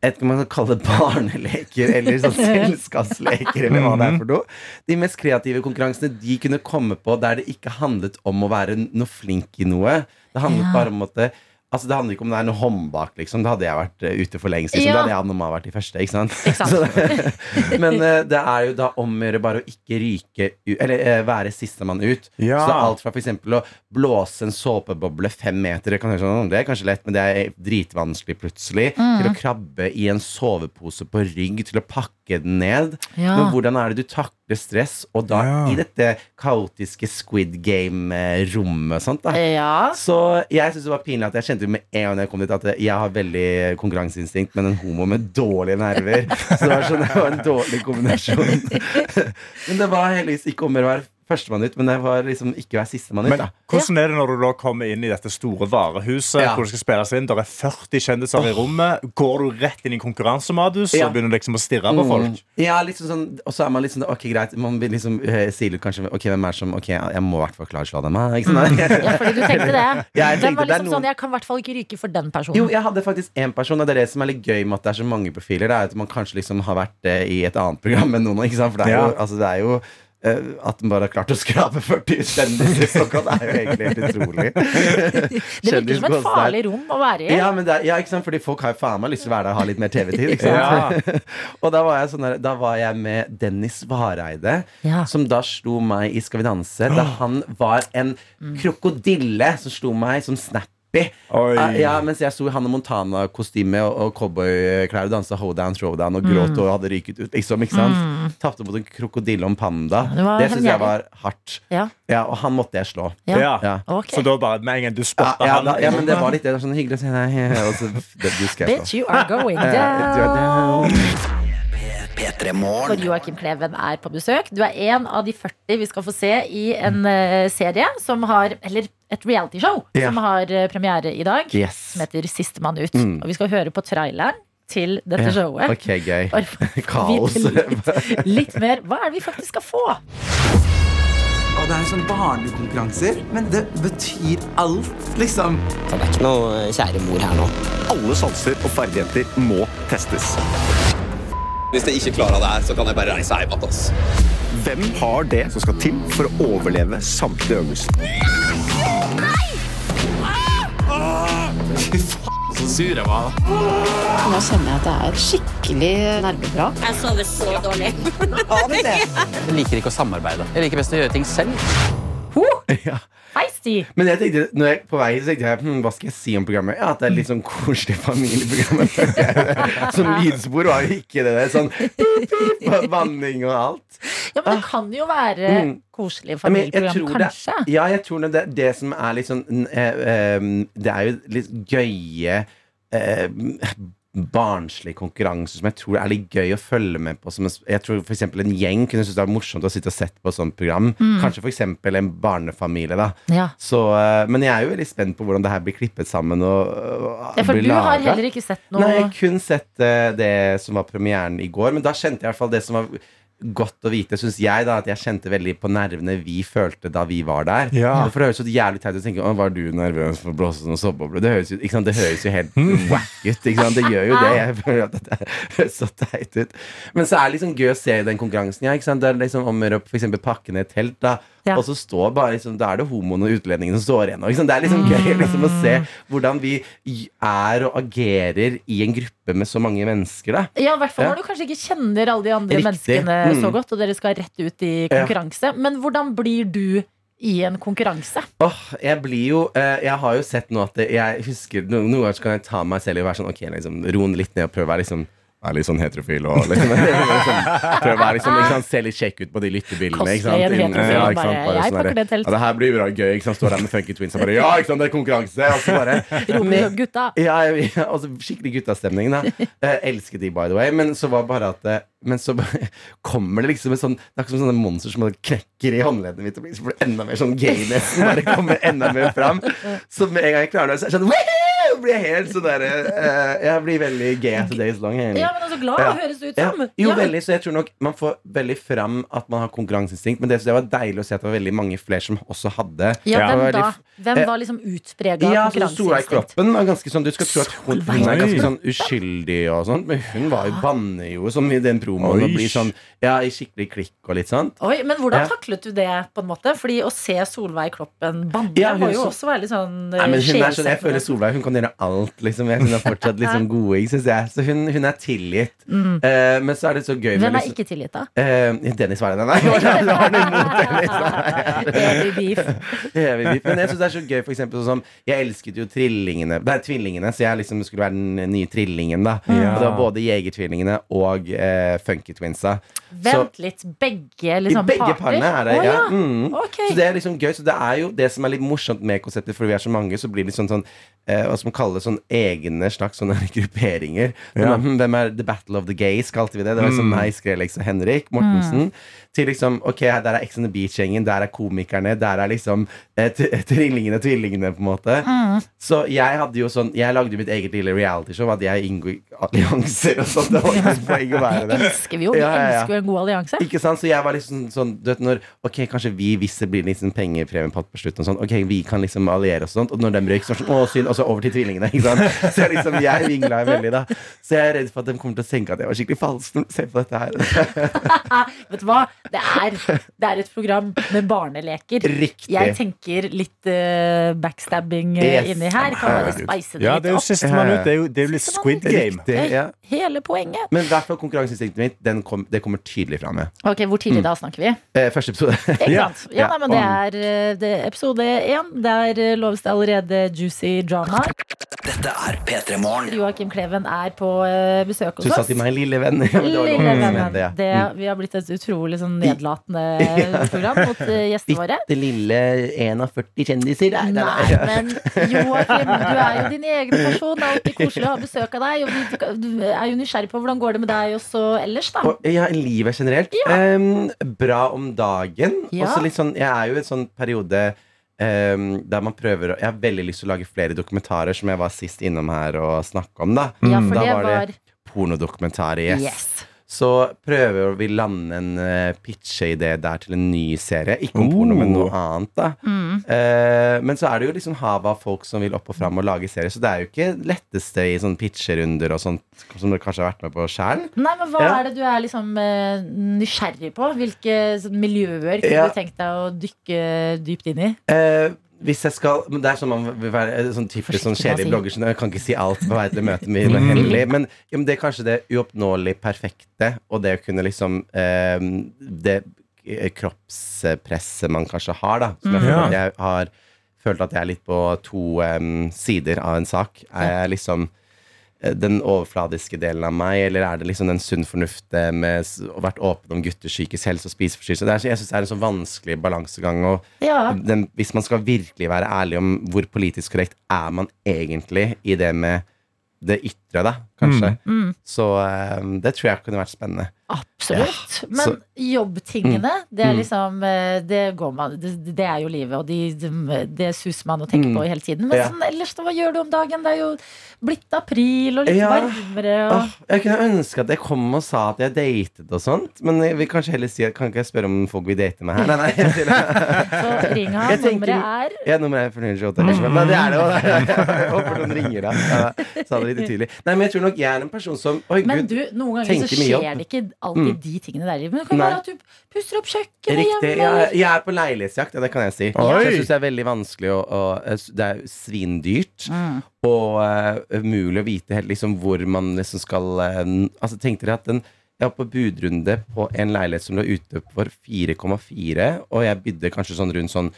[SPEAKER 8] jeg vet ikke om man skal kalle det barneleker eller sånn selskapsleker. eller hva det er for noe. De mest kreative konkurransene de kunne komme på der det ikke handlet om å være noe flink i noe. Det
[SPEAKER 2] Ja.
[SPEAKER 8] handlet bare om at det, altså det handler ikke om det er noe håndbak. liksom. Da hadde jeg vært eh, ute for lengst. liksom.
[SPEAKER 2] Ja.
[SPEAKER 8] Da hadde jeg og Noma vært de første. ikke sant?
[SPEAKER 2] Ikke sant?
[SPEAKER 8] Så- men eh, det er jo da om å gjøre bare å ikke ryke u- Eller eh, være sistemann ut.
[SPEAKER 3] Ja.
[SPEAKER 8] Så det er alt fra for eksempel å blåse en såpeboble fem meter det kan høres sånn, Det er kanskje lett, men det er dritvanskelig plutselig. Til å krabbe i en sovepose på rygg, til å pakke den ned.
[SPEAKER 2] Ja.
[SPEAKER 8] Men hvordan er det du takler stress, og da
[SPEAKER 3] Ja.
[SPEAKER 8] i dette kaotiske Squid Game-rommet og sånt,
[SPEAKER 2] Eh,
[SPEAKER 8] da.
[SPEAKER 2] Ja.
[SPEAKER 8] Så jeg synes det var pinlig at jeg kjente med en gang jeg kom dit at jeg har veldig konkurranseinstinkt, men en homo med dårlige nerver. Så det var, sånn, det var en dårlig kombinasjon. Men det var heldigvis ikke om å være førstemann ut, men det var liksom ikke å være sistemann ut.
[SPEAKER 3] Men
[SPEAKER 8] da.
[SPEAKER 3] hvordan er det når du da kommer inn i dette store varehuset?
[SPEAKER 8] Ja.
[SPEAKER 3] Hvor det skal spilles inn, Der er 40 kjendiser i rommet. Går du rett inn i konkurransemadus
[SPEAKER 8] Ja. Mm.
[SPEAKER 3] og begynner liksom å stirre på folk?
[SPEAKER 8] Ja, liksom sånn, og så er man liksom Ok, greit. Man blir liksom eh, sier litt kanskje Ok, hvem er det som Ok, jeg må i hvert fall klare å slå dem av. Ikke sant?
[SPEAKER 2] ja, fordi du tenkte det.
[SPEAKER 8] Ja, jeg
[SPEAKER 2] Den var
[SPEAKER 8] tenkte det er
[SPEAKER 2] liksom
[SPEAKER 8] noen-
[SPEAKER 2] sånn, jeg kan i hvert fall ikke ryke for den personen.
[SPEAKER 8] Jo, jeg hadde faktisk én person, og det er det som er litt gøy med at det er så mange profiler. Det er at man kanskje liksom har vært eh, i et annet program enn noen, ikke sant? For det er jo,
[SPEAKER 3] Ja.
[SPEAKER 8] altså, det er jo eh, at man bare har klart å skrape 40 kjendiser såkalt, er jo egentlig helt utrolig.
[SPEAKER 2] det virker som
[SPEAKER 8] Kjendisgås
[SPEAKER 2] et
[SPEAKER 8] der.
[SPEAKER 2] farlig rom å være i.
[SPEAKER 8] Ja, men det er, ja, ikke sant? Fordi folk har jo faen meg lyst til å være der og ha litt mer TV-tid. ikke
[SPEAKER 3] Ja.
[SPEAKER 8] sant? og da var, jeg sånn der, da var jeg med Dennis Vareide,
[SPEAKER 2] Ja.
[SPEAKER 8] som da slo meg i Skal vi danse, da han var en krokodille som slo meg som snappy.
[SPEAKER 3] Oi.
[SPEAKER 8] Eh, Ja, mens jeg sto i Hanne Montana-kostyme og, og cowboyklær og dansa hoedown, throwdown og gråt
[SPEAKER 2] Mm.
[SPEAKER 8] og hadde ryket ut, liksom. ikke sant? Tapte mot en krokodille og en panda.
[SPEAKER 2] Det var
[SPEAKER 8] Det syns jeg
[SPEAKER 2] hevngjerrig.
[SPEAKER 8] var hardt.
[SPEAKER 2] Ja.
[SPEAKER 8] Ja, Og han måtte jeg slå.
[SPEAKER 2] Ja.
[SPEAKER 3] Ja.
[SPEAKER 8] Ja.
[SPEAKER 2] Ok.
[SPEAKER 3] Så da bare med en gang du
[SPEAKER 8] Ja,
[SPEAKER 3] spotter
[SPEAKER 8] ja,
[SPEAKER 3] han
[SPEAKER 8] da, ja, men det var litt det. det var Sånn hyggelig å se deg. Og så, det, du skal jeg slå.
[SPEAKER 2] Bitch, you are going down.
[SPEAKER 8] Ja,
[SPEAKER 5] P3
[SPEAKER 2] For
[SPEAKER 5] Morgen.
[SPEAKER 2] Joakim Kleven er på besøk. Du er en av de 40 vi skal få se i en eh, serie som har Eller et realityshow
[SPEAKER 8] Ja.
[SPEAKER 2] som har eh, premiere i dag.
[SPEAKER 8] Yes. Mm.
[SPEAKER 2] Som heter Sistemann ut. Og vi skal høre på traileren til dette showet.
[SPEAKER 8] Ok, gøy.
[SPEAKER 2] Bare for å vite
[SPEAKER 8] Kaos.
[SPEAKER 2] Litt, litt mer. Hva er det vi faktisk skal få?
[SPEAKER 9] Og det er sånn barnekonkurranser, men det betyr alt, liksom.
[SPEAKER 5] Det er ikke noe kjære mor her nå.
[SPEAKER 10] Alle sanser og ferdigheter må testes.
[SPEAKER 9] Hvis jeg ikke klarer det her, så kan jeg bare reise hjem igjen.
[SPEAKER 10] Hvem har det som skal til for å overleve samtlige øvelser?
[SPEAKER 9] Så sur jeg var.
[SPEAKER 11] Nå kjenner jeg at det er skikkelig nervebrak.
[SPEAKER 1] Jeg sover så dårlig.
[SPEAKER 5] Jeg liker ikke å samarbeide. Jeg liker best å gjøre ting selv.
[SPEAKER 2] Ho!
[SPEAKER 8] Ja.
[SPEAKER 2] Hei, Sti.
[SPEAKER 8] Men jeg tenkte, når jeg på vei hit, så tenkte jeg hm, hva skal jeg si om programmet? Ja, At det er litt sånn koselig familieprogram. Som lydspor var jo ikke det der. Sånn banning og alt.
[SPEAKER 2] Ja, men det kan jo være
[SPEAKER 8] Ah. Mm.
[SPEAKER 2] koselig
[SPEAKER 8] Ja, men jeg
[SPEAKER 2] familieprogram,
[SPEAKER 8] tror det-
[SPEAKER 2] kanskje.
[SPEAKER 8] Ja, jeg tror det, det som er litt sånn n- eh, eh, Det er jo litt gøye eh, Barnslig konkurranse som jeg tror er litt gøy å følge med på. Som en s- jeg tror for eksempel En gjeng kunne synes det var morsomt å sitte og sett på et sånt program.
[SPEAKER 2] Mm.
[SPEAKER 8] Kanskje for eksempel en barnefamilie. da
[SPEAKER 2] Ja.
[SPEAKER 8] så, eh, Men jeg er jo veldig spent på hvordan det her blir klippet sammen. Og, og
[SPEAKER 2] Ja, for
[SPEAKER 8] blir
[SPEAKER 2] du har
[SPEAKER 8] laget.
[SPEAKER 2] heller ikke sett noe
[SPEAKER 8] Nei, jeg har kun sett eh, det som var premieren i går, men da kjente jeg i hvert fall det som var godt å vite, synes jeg, da, at jeg kjente veldig på nervene vi følte da vi var der.
[SPEAKER 3] Ja.
[SPEAKER 8] Og For det høres jo jævlig teit ut å tenke «Å, var du nervøs for å blåse noen soveboble? Det høres jo, ikke sant? Det høres jo helt wack ut, ikke sant? Det gjør jo det. Jeg føler at det høres så teit ut. Men så er det liksom gøy å se den konkurransen, ja, ikke sant? Det er liksom om å gjøre å for eksempel pakke ned et telt, da,
[SPEAKER 2] Ja.
[SPEAKER 8] og så står bare liksom, da er det homoene og utlendingene som står igjen. og Ikke sant? Det er liksom gøy liksom, å se hvordan vi er og agerer i en gruppe med så mange mennesker, da.
[SPEAKER 2] Ja, i hvert fall
[SPEAKER 8] Ja.
[SPEAKER 2] når du kanskje ikke kjenner alle de andre
[SPEAKER 8] Riktig.
[SPEAKER 2] menneskene
[SPEAKER 8] Mm.
[SPEAKER 2] så godt, og dere skal rett ut i konkurranse. Men hvordan blir du i en konkurranse?
[SPEAKER 8] Åh, jeg blir jo eh, Jeg har jo sett nå at det- jeg husker no- Noen ganger så kan jeg ta meg selv i å være sånn Ok, liksom, roen litt ned og prøve å være liksom
[SPEAKER 12] er litt sånn heterofil og liksom, liksom, prøver å være liksom, ikke sant, se litt kjekk ut på de lyttebildene. Ikke sant?
[SPEAKER 2] Cosplayer,
[SPEAKER 12] Inn-
[SPEAKER 2] heterofil,
[SPEAKER 12] ja, ikke
[SPEAKER 2] bare,
[SPEAKER 12] sant? Bare
[SPEAKER 2] jeg
[SPEAKER 12] sånn der,
[SPEAKER 2] pakker det telt.
[SPEAKER 12] Ja, det her blir bra gøy. Ikke sant? Står der med funky twins og bare Ja, ikke sant, det er konkurranse! Og så bare
[SPEAKER 2] Romeo og gutta.
[SPEAKER 8] Ja, ja, ja, altså skikkelig guttastemning. Da. Eh, elsker de, by the way. Men så var bare at eh, Men så bare- kommer det liksom et sånn Det er ikke som sånne monster som bare knekker i håndleddene mitt og blir så blir det enda mer sånn gayness. som Bare kommer enda mer fram. Så med en gang jeg klarer det, så er jeg sånn «Woohoo!» blir jeg helt sånn derre eh, Jeg blir veldig gay as the days long. jeg er enig.
[SPEAKER 2] Ja, men altså, glad høres det ut som.
[SPEAKER 8] Jo,
[SPEAKER 2] Ja.
[SPEAKER 8] veldig, så jeg tror nok man får veldig fram at man har konkurranseinstinkt. Men det, så det var deilig å se at det var veldig mange flere som også hadde
[SPEAKER 2] Ja,
[SPEAKER 8] Det
[SPEAKER 2] hvem
[SPEAKER 8] var
[SPEAKER 2] da?
[SPEAKER 8] veldig f-
[SPEAKER 2] Hvem
[SPEAKER 8] Eh,
[SPEAKER 2] var liksom utpreget av
[SPEAKER 8] ja, sånn Solveig
[SPEAKER 2] konkurranseinstinkt?
[SPEAKER 8] Kloppen var ganske sånn Du skal tro at hun, hun er
[SPEAKER 2] Solveig
[SPEAKER 8] ganske sånn
[SPEAKER 2] Kloppen?
[SPEAKER 8] uskyldig og sånn, men hun var jo bannejo som i den promoen og
[SPEAKER 2] Oi.
[SPEAKER 8] blir sånn Ja, i skikkelig klikk og litt sånn.
[SPEAKER 2] Oi, men hvordan
[SPEAKER 8] Ja.
[SPEAKER 2] taklet du det, på en måte? Fordi å se Solveig Kloppen banne
[SPEAKER 8] Ja, hun
[SPEAKER 2] må jo
[SPEAKER 8] så-
[SPEAKER 2] også være litt sånn eh,
[SPEAKER 8] Nei, men hun er sånn, jeg
[SPEAKER 2] skjellsettende.
[SPEAKER 8] føler Solveig hun kan gjøre alt, liksom. Hun er fortsatt litt sånn goding, syns jeg. Så hun, hun er tilgitt.
[SPEAKER 2] Mm.
[SPEAKER 8] Eh, men så er det så gøy
[SPEAKER 2] Hvem
[SPEAKER 8] med
[SPEAKER 2] er
[SPEAKER 8] liksom,
[SPEAKER 2] ikke tilgitt, da?
[SPEAKER 8] Eh, Dennis var det, nei. det var det.
[SPEAKER 2] Evig beef.
[SPEAKER 8] Evig beef. Men jeg synes det er så gøy, for eksempel sånn som Jeg elsket jo trillingene Nei, tvillingene, så jeg liksom skulle være den nye trillingen, da.
[SPEAKER 2] Ja.
[SPEAKER 8] Og det var både Jegertvillingene og eh, Funky-twinsa. Så-
[SPEAKER 2] Vent litt, begge liksom
[SPEAKER 8] I begge parene er det,
[SPEAKER 2] Å,
[SPEAKER 8] ja.
[SPEAKER 2] ja.
[SPEAKER 8] Mm.
[SPEAKER 2] Ok.
[SPEAKER 8] Så det er liksom gøy. Så det er jo det som er litt morsomt med konseptet, fordi vi er så mange, så blir det litt sånn sånn eh, hva skal man kalle det, sånn egne slags sånne grupperinger.
[SPEAKER 3] Ja.
[SPEAKER 8] Men, hm, Hvem er The Battle of the Gays, kalte vi det. Det var liksom
[SPEAKER 3] Mm.
[SPEAKER 8] meg, Skrellex og Henrik Mortensen.
[SPEAKER 3] Mm.
[SPEAKER 8] Til liksom, ok, her- der er Ex on the Beach-gjengen, der er komikerne, der er liksom eh, t- trillingene, tvillingene, på en måte.
[SPEAKER 2] Mm.
[SPEAKER 8] Så jeg hadde jo sånn Jeg lagde jo mitt eget lille realityshow, at jeg inngår allianser og sånt. Det var ikke noe poeng å være det.
[SPEAKER 2] Elsker vi jo. Vi
[SPEAKER 8] Ja, ja, ja.
[SPEAKER 2] elsker jo en god allianse.
[SPEAKER 8] Ikke sant? Så jeg var liksom sånn du vet, når, Ok, kanskje vi, hvis det blir liksom pengepremiepott på slutten, og sånn, ok, vi kan liksom alliere oss og sånt. Og når de røyk, så var det sånn, å, synd. Og så over til tvillingene. Ikke sant? Så jeg liksom, jeg vingla veldig, da. Så jeg er redd for at de kommer til å tenke at jeg var skikkelig falsk. når de ser på dette her.
[SPEAKER 2] Ah, Vet du hva? Det er, det er et program med barneleker.
[SPEAKER 8] Riktig.
[SPEAKER 2] Jeg tenker litt eh, backstabbing eh,
[SPEAKER 3] Yes.
[SPEAKER 2] inni her. Kan bare speise det
[SPEAKER 3] Ja,
[SPEAKER 2] litt
[SPEAKER 3] det er jo
[SPEAKER 2] opp.
[SPEAKER 3] sistemann ut. Det er jo, det er jo litt Squid Game.
[SPEAKER 8] Riktig, ja.
[SPEAKER 2] Hele poenget.
[SPEAKER 8] Men i hvert fall konkurranseinstinktet mitt, den kom, det kommer tydelig fram. ja.
[SPEAKER 2] Ok, Hvor tidlig da snakker vi?
[SPEAKER 8] Eh, første episode.
[SPEAKER 2] Ikke sant? Ja, nei, men Det er eh, det er episode én. Der eh, loves det allerede juicy drama.
[SPEAKER 13] Dette er P3 Morgen.
[SPEAKER 2] Joakim Kleven er på eh, besøk
[SPEAKER 8] Du
[SPEAKER 2] hos
[SPEAKER 8] sa
[SPEAKER 2] oss.
[SPEAKER 8] til meg 'lille venn'. Ja, men det var
[SPEAKER 2] Lille
[SPEAKER 8] lov å si
[SPEAKER 2] vennen.
[SPEAKER 8] det, ja.
[SPEAKER 2] Det,
[SPEAKER 8] Mm.
[SPEAKER 2] vi har blitt et utrolig sånn nedlatende
[SPEAKER 8] Ja.
[SPEAKER 2] program mot eh, gjestene våre.
[SPEAKER 8] Bitte lille 1 av 40 kjendiser. Nei, nei, nei.
[SPEAKER 2] men Joakim, du er jo din egen person. Det er alltid koselig å ha besøk av deg. Og vi- du er jo nysgjerrig på hvordan går det med deg også ellers, da.
[SPEAKER 8] Og, ja, livet generelt. Em, bra om dagen.
[SPEAKER 2] Ja.
[SPEAKER 8] Og så litt sånn, jeg er jo i en sånn periode em, der man prøver å Jeg har veldig lyst til å lage flere dokumentarer, som jeg var sist innom her og snakka om, da.
[SPEAKER 2] Ja, for
[SPEAKER 8] mm, da
[SPEAKER 2] det var-
[SPEAKER 8] pornodokumentarer. Yes.
[SPEAKER 2] Yes.
[SPEAKER 8] Så prøver vi lande en eh, pitche-idé der til en ny serie. Ikke om porno, men noe annet, da.
[SPEAKER 2] Mm.
[SPEAKER 8] Eh, men så er det jo liksom havet av folk som vil opp og fram og lage serier, så det er jo ikke letteste i sånne pitcherunder og sånt, som dere kanskje har vært med på sjæl.
[SPEAKER 2] Nei, men Hva
[SPEAKER 8] Ja.
[SPEAKER 2] er det du er liksom eh, nysgjerrig på? Hvilke sånn, miljøer kunne
[SPEAKER 8] Ja.
[SPEAKER 2] du tenkt deg å dykke dypt inn i?
[SPEAKER 8] Eh, hvis jeg skal Men det er sånn man vil være eh, sånn typisk
[SPEAKER 2] Forsiktig med å
[SPEAKER 8] sånn kjedelig
[SPEAKER 2] si.
[SPEAKER 8] blogger som jeg kan ikke si alt på vei til møtet mitt,
[SPEAKER 3] Mm.
[SPEAKER 8] men hemmelig. Men, ja, men det er kanskje det uoppnåelig perfekte, og det å kunne liksom eh, Det eh, kroppspresset man kanskje har, da, som jeg
[SPEAKER 3] Mm.
[SPEAKER 8] føler at
[SPEAKER 3] Ja.
[SPEAKER 8] jeg har følt at jeg er litt på to eh, sider av en sak. Er jeg liksom eh, den overfladiske delen av meg, eller er det liksom den sunn fornuft eh, med s- å vært åpen om gutters psykisk helse og spiseforstyrrelse? Det er så- Jeg syns det er en så vanskelig balansegang. Og
[SPEAKER 2] Ja.
[SPEAKER 8] den, hvis man skal virkelig være ærlig om hvor politisk korrekt er man egentlig i det med det ytre, da, kanskje.
[SPEAKER 2] Mm. Mm.
[SPEAKER 8] Så eh, det tror jeg kunne vært spennende.
[SPEAKER 2] Absolutt.
[SPEAKER 8] Ja,
[SPEAKER 2] Men
[SPEAKER 8] så-
[SPEAKER 2] jobbtingene, det er
[SPEAKER 8] Mm.
[SPEAKER 2] liksom eh, Det går man Det, det er jo livet, og de, de, det suser man og tenker
[SPEAKER 8] Mm.
[SPEAKER 2] på hele tiden. Men
[SPEAKER 8] Ja.
[SPEAKER 2] sånn, ellers, da, hva gjør du om dagen? Det er jo blitt april og litt
[SPEAKER 8] Ja.
[SPEAKER 2] varmere.
[SPEAKER 8] Åh,
[SPEAKER 2] Og,
[SPEAKER 8] jeg kunne ønske at jeg kom og sa at jeg datet og sånt, men jeg vil kanskje heller si at kan ikke jeg spørre om folk vil date meg her? Nei, nei, jeg sier
[SPEAKER 2] så ring ham.
[SPEAKER 8] Ah. Jeg tenker-
[SPEAKER 2] Nummeret er
[SPEAKER 8] Ja, nummer er 428. Nei, det er det jo. Jeg håper noen ringer da. Ja, Sa det litt utydelig. Nei, men jeg tror nok jeg er en person som Oi,
[SPEAKER 2] Men
[SPEAKER 8] gud.
[SPEAKER 2] du, noen ganger så
[SPEAKER 8] tenker mye
[SPEAKER 2] skjer
[SPEAKER 8] opp.
[SPEAKER 2] det ikke alltid
[SPEAKER 8] Mm.
[SPEAKER 2] de tingene der i livet. Men det kan
[SPEAKER 8] Nei.
[SPEAKER 2] være at du puster opp kjøkkenet
[SPEAKER 8] Riktig.
[SPEAKER 2] hjemme.
[SPEAKER 8] Jeg, jeg er på leilighetsjakt, ja, det kan jeg si. Så
[SPEAKER 3] Oi.
[SPEAKER 8] jeg syns det er veldig vanskelig å, å Det er svindyrt.
[SPEAKER 2] Mm.
[SPEAKER 8] Og eh, umulig å vite helt liksom hvor man liksom skal eh, n- Altså, tenk dere at den jeg var på budrunde på en leilighet som lå ute for 4,4, og jeg bydde kanskje sånn rundt sånn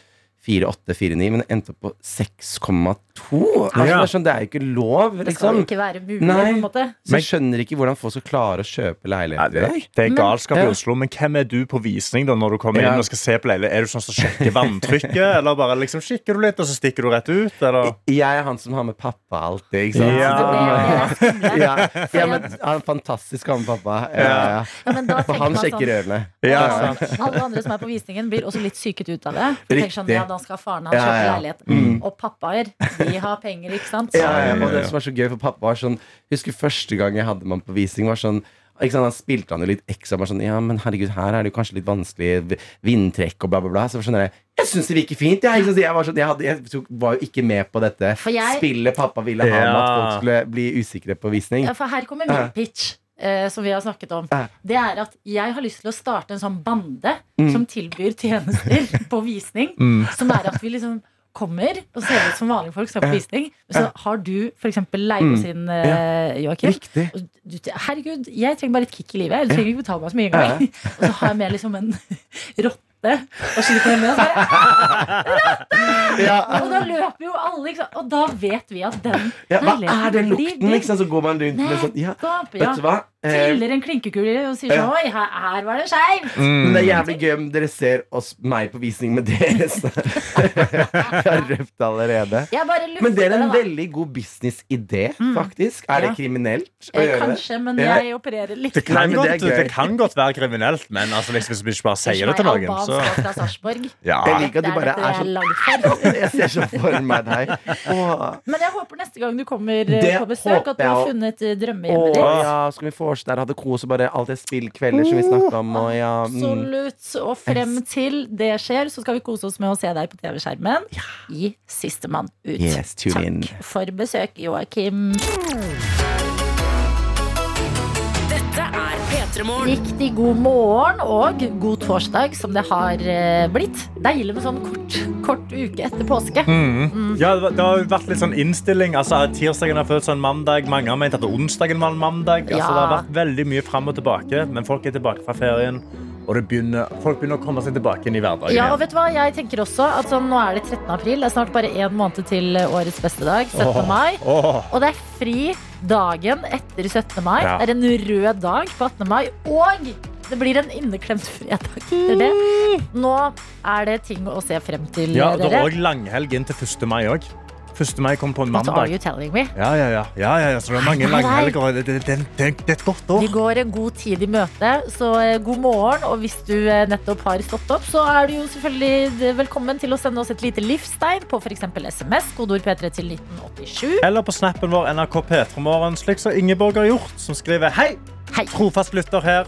[SPEAKER 8] 4849, men det endte opp på 6,2. Altså, det,
[SPEAKER 2] Ja.
[SPEAKER 8] er sånn, det er jo ikke lov, liksom.
[SPEAKER 2] Det skal jo ikke være mulig,
[SPEAKER 8] Nei.
[SPEAKER 2] på en måte.
[SPEAKER 8] Så jeg skjønner ikke hvordan folk skal klare å kjøpe leiligheter i dag.
[SPEAKER 3] Det er galskap i
[SPEAKER 8] Ja.
[SPEAKER 3] Oslo, men hvem er du på visning da når du kommer
[SPEAKER 8] Ja.
[SPEAKER 3] inn og skal se på leilighet? Er du sånn som sjekker vanntrykket, eller bare liksom kikker du litt, og så stikker du rett ut? Eller?
[SPEAKER 8] Jeg er han som har med pappa alltid, ikke sant?
[SPEAKER 3] Ja.
[SPEAKER 8] Så det blir jo det
[SPEAKER 3] Ja.
[SPEAKER 8] skumle. Ah. ja, men han er fantastisk han pappa. Ja, ja.
[SPEAKER 2] Ja, men da
[SPEAKER 8] For
[SPEAKER 2] tenker
[SPEAKER 8] han
[SPEAKER 2] man sånn-
[SPEAKER 8] sjekker ørene.
[SPEAKER 2] Ja, Alle andre som er på visningen, blir også litt syket ut av det. For tenker sånn,
[SPEAKER 8] Riktig.
[SPEAKER 2] ja, da skal faren hans
[SPEAKER 8] Ja,
[SPEAKER 2] kjøpe
[SPEAKER 8] ja.
[SPEAKER 2] leilighet.
[SPEAKER 8] Mm.
[SPEAKER 2] Og pappaer, de har penger, ikke sant?
[SPEAKER 8] Ja, ja, Eh, og det som er så gøy for pappa var sånn Husker første gang jeg hadde man på visning var sånn ikke sant, Han spilte han jo litt ekstra bare sånn, Ja, men herregud, her er det jo kanskje litt vanskelig v- vindtrekk og bla bla bla Så skjønner jeg, sånn jeg synes det virker fint Jeg, ikke sant, jeg, var, sånn, jeg, hadde, jeg tok, var jo ikke med på dette
[SPEAKER 2] jeg-
[SPEAKER 8] Spillet pappa ville ha med at folk
[SPEAKER 3] Ja.
[SPEAKER 8] skulle bli usikre på visning
[SPEAKER 2] Ja, for her kommer min pitch, eh, som vi har snakket om.
[SPEAKER 8] Ja.
[SPEAKER 2] Det er at jeg har lyst til å starte en sånn bande
[SPEAKER 8] Mm.
[SPEAKER 2] som tilbyr tjenester på visning.
[SPEAKER 8] Mm.
[SPEAKER 2] Som er at vi liksom kommer og ser ut som vanlige folk skal på
[SPEAKER 8] Ja.
[SPEAKER 2] visning. Men så
[SPEAKER 8] Ja.
[SPEAKER 2] har du f.eks. leid oss
[SPEAKER 8] Mm.
[SPEAKER 2] inn, eh, Joakim.
[SPEAKER 8] Riktig.
[SPEAKER 2] Og du, t- herregud, jeg trenger bare et kick i livet. Jeg trenger ikke betale meg så mye engang. Og så har jeg med liksom en rotte. Og slipper den med. Og så bare, og da løper jo alle, ikke sant? Og da vet vi at den
[SPEAKER 8] ja, Hva
[SPEAKER 2] leiligheten
[SPEAKER 8] er den
[SPEAKER 2] blir
[SPEAKER 8] lukten,
[SPEAKER 2] din.
[SPEAKER 8] liksom, så går man rundt med sånn ja,
[SPEAKER 2] Nettopp, ja.
[SPEAKER 8] Vet du hva? Eh,
[SPEAKER 2] Triller en klinkekule og sier sånn
[SPEAKER 8] Ja. Mm.
[SPEAKER 2] Oi, her, her var det skeivt!
[SPEAKER 8] Men det er jævlig gøy om dere ser oss, meg på visning med deres. Jeg har røpt allerede.
[SPEAKER 2] Jeg bare lufter
[SPEAKER 8] Men det er en
[SPEAKER 2] det, da.
[SPEAKER 8] veldig god businessidé, faktisk. Er
[SPEAKER 2] Mm.
[SPEAKER 8] det
[SPEAKER 2] Ja.
[SPEAKER 8] kriminelt å
[SPEAKER 2] Eh,
[SPEAKER 8] gjøre
[SPEAKER 2] Kanskje, men
[SPEAKER 8] Ja.
[SPEAKER 2] jeg opererer litt
[SPEAKER 3] Det kan,
[SPEAKER 8] Nei, men det er
[SPEAKER 3] godt, det,
[SPEAKER 8] gøy.
[SPEAKER 3] kan godt være kriminelt, men altså, liksom, hvis vi ikke bare sier det til
[SPEAKER 2] Nei,
[SPEAKER 3] noen,
[SPEAKER 2] albansk og
[SPEAKER 3] så
[SPEAKER 2] fra Sarpsborg.
[SPEAKER 3] Ja.
[SPEAKER 8] Jeg liker
[SPEAKER 2] Dette
[SPEAKER 8] at du bare
[SPEAKER 2] dette
[SPEAKER 8] er sånn-
[SPEAKER 2] jeg lagd for.
[SPEAKER 8] Jeg ser så for meg deg. Åh.
[SPEAKER 2] Men jeg håper neste gang du kommer eh,
[SPEAKER 8] Det
[SPEAKER 2] på besøk,
[SPEAKER 8] håper
[SPEAKER 2] at du har
[SPEAKER 8] jeg også.
[SPEAKER 2] funnet eh, drømmehjemmet
[SPEAKER 8] Åh,
[SPEAKER 2] ditt.
[SPEAKER 8] ja, skal vi få oss der hadde kos og bare alt det spillkvelder som vi snakket om, og ja mm.
[SPEAKER 2] Absolutt. Og frem til det skjer, så skal vi kose oss med å se deg på TV-skjermen i Sistemann ut.
[SPEAKER 8] Yes, tune in.
[SPEAKER 2] Takk for besøk, Joakim.
[SPEAKER 1] Dette er P3 Morgen.
[SPEAKER 2] Riktig god morgen og god torsdag, som det har eh, blitt. Deilig med sånn kort, kort uke etter påske.
[SPEAKER 3] Mm. Ja, det var- det har jo vært litt sånn innstilling. Altså, tirsdagen har føltes som en mandag. Mange har ment at onsdagen var en mandag. Altså,
[SPEAKER 2] Ja.
[SPEAKER 3] Det har vært veldig mye fram og tilbake, men folk er tilbake fra ferien. Og det begynner, folk begynner å komme seg tilbake inn i hverdagen.
[SPEAKER 2] Ja,
[SPEAKER 3] igjen.
[SPEAKER 2] og vet du hva? Jeg tenker også at sånn, Nå er det 13. april. Det er snart bare én måned til eh, årets beste dag. 17.
[SPEAKER 3] Åh,
[SPEAKER 2] mai.
[SPEAKER 3] åh.
[SPEAKER 2] Og det er fri dagen etter 17. mai.
[SPEAKER 3] Ja.
[SPEAKER 2] Det er en rød dag på 18. mai. Og det blir en inneklemt fredag etter det. Nå er det ting å se frem til,
[SPEAKER 3] Ja, det er
[SPEAKER 2] dere.
[SPEAKER 3] òg langhelg inn til 1. mai òg. 1. mai kommer på en
[SPEAKER 2] What are
[SPEAKER 3] mandag.
[SPEAKER 2] you telling me?
[SPEAKER 3] Ja, ja, ja. ja, ja, ja. Så det er mange
[SPEAKER 2] Hva med deg?
[SPEAKER 3] langhelger. Det, det, det, det, det er et godt år.
[SPEAKER 2] Vi går en god tid i møte, så eh, god morgen. Og hvis du eh, nettopp har stått opp, så er du jo selvfølgelig eh, velkommen til å sende oss et lite livstegn på f.eks. SMS, kodeord P3 til 1987.
[SPEAKER 3] Eller på snappen vår NRK P3morgen, slik som Ingeborg har gjort, som skriver Hei, trofast lytter her.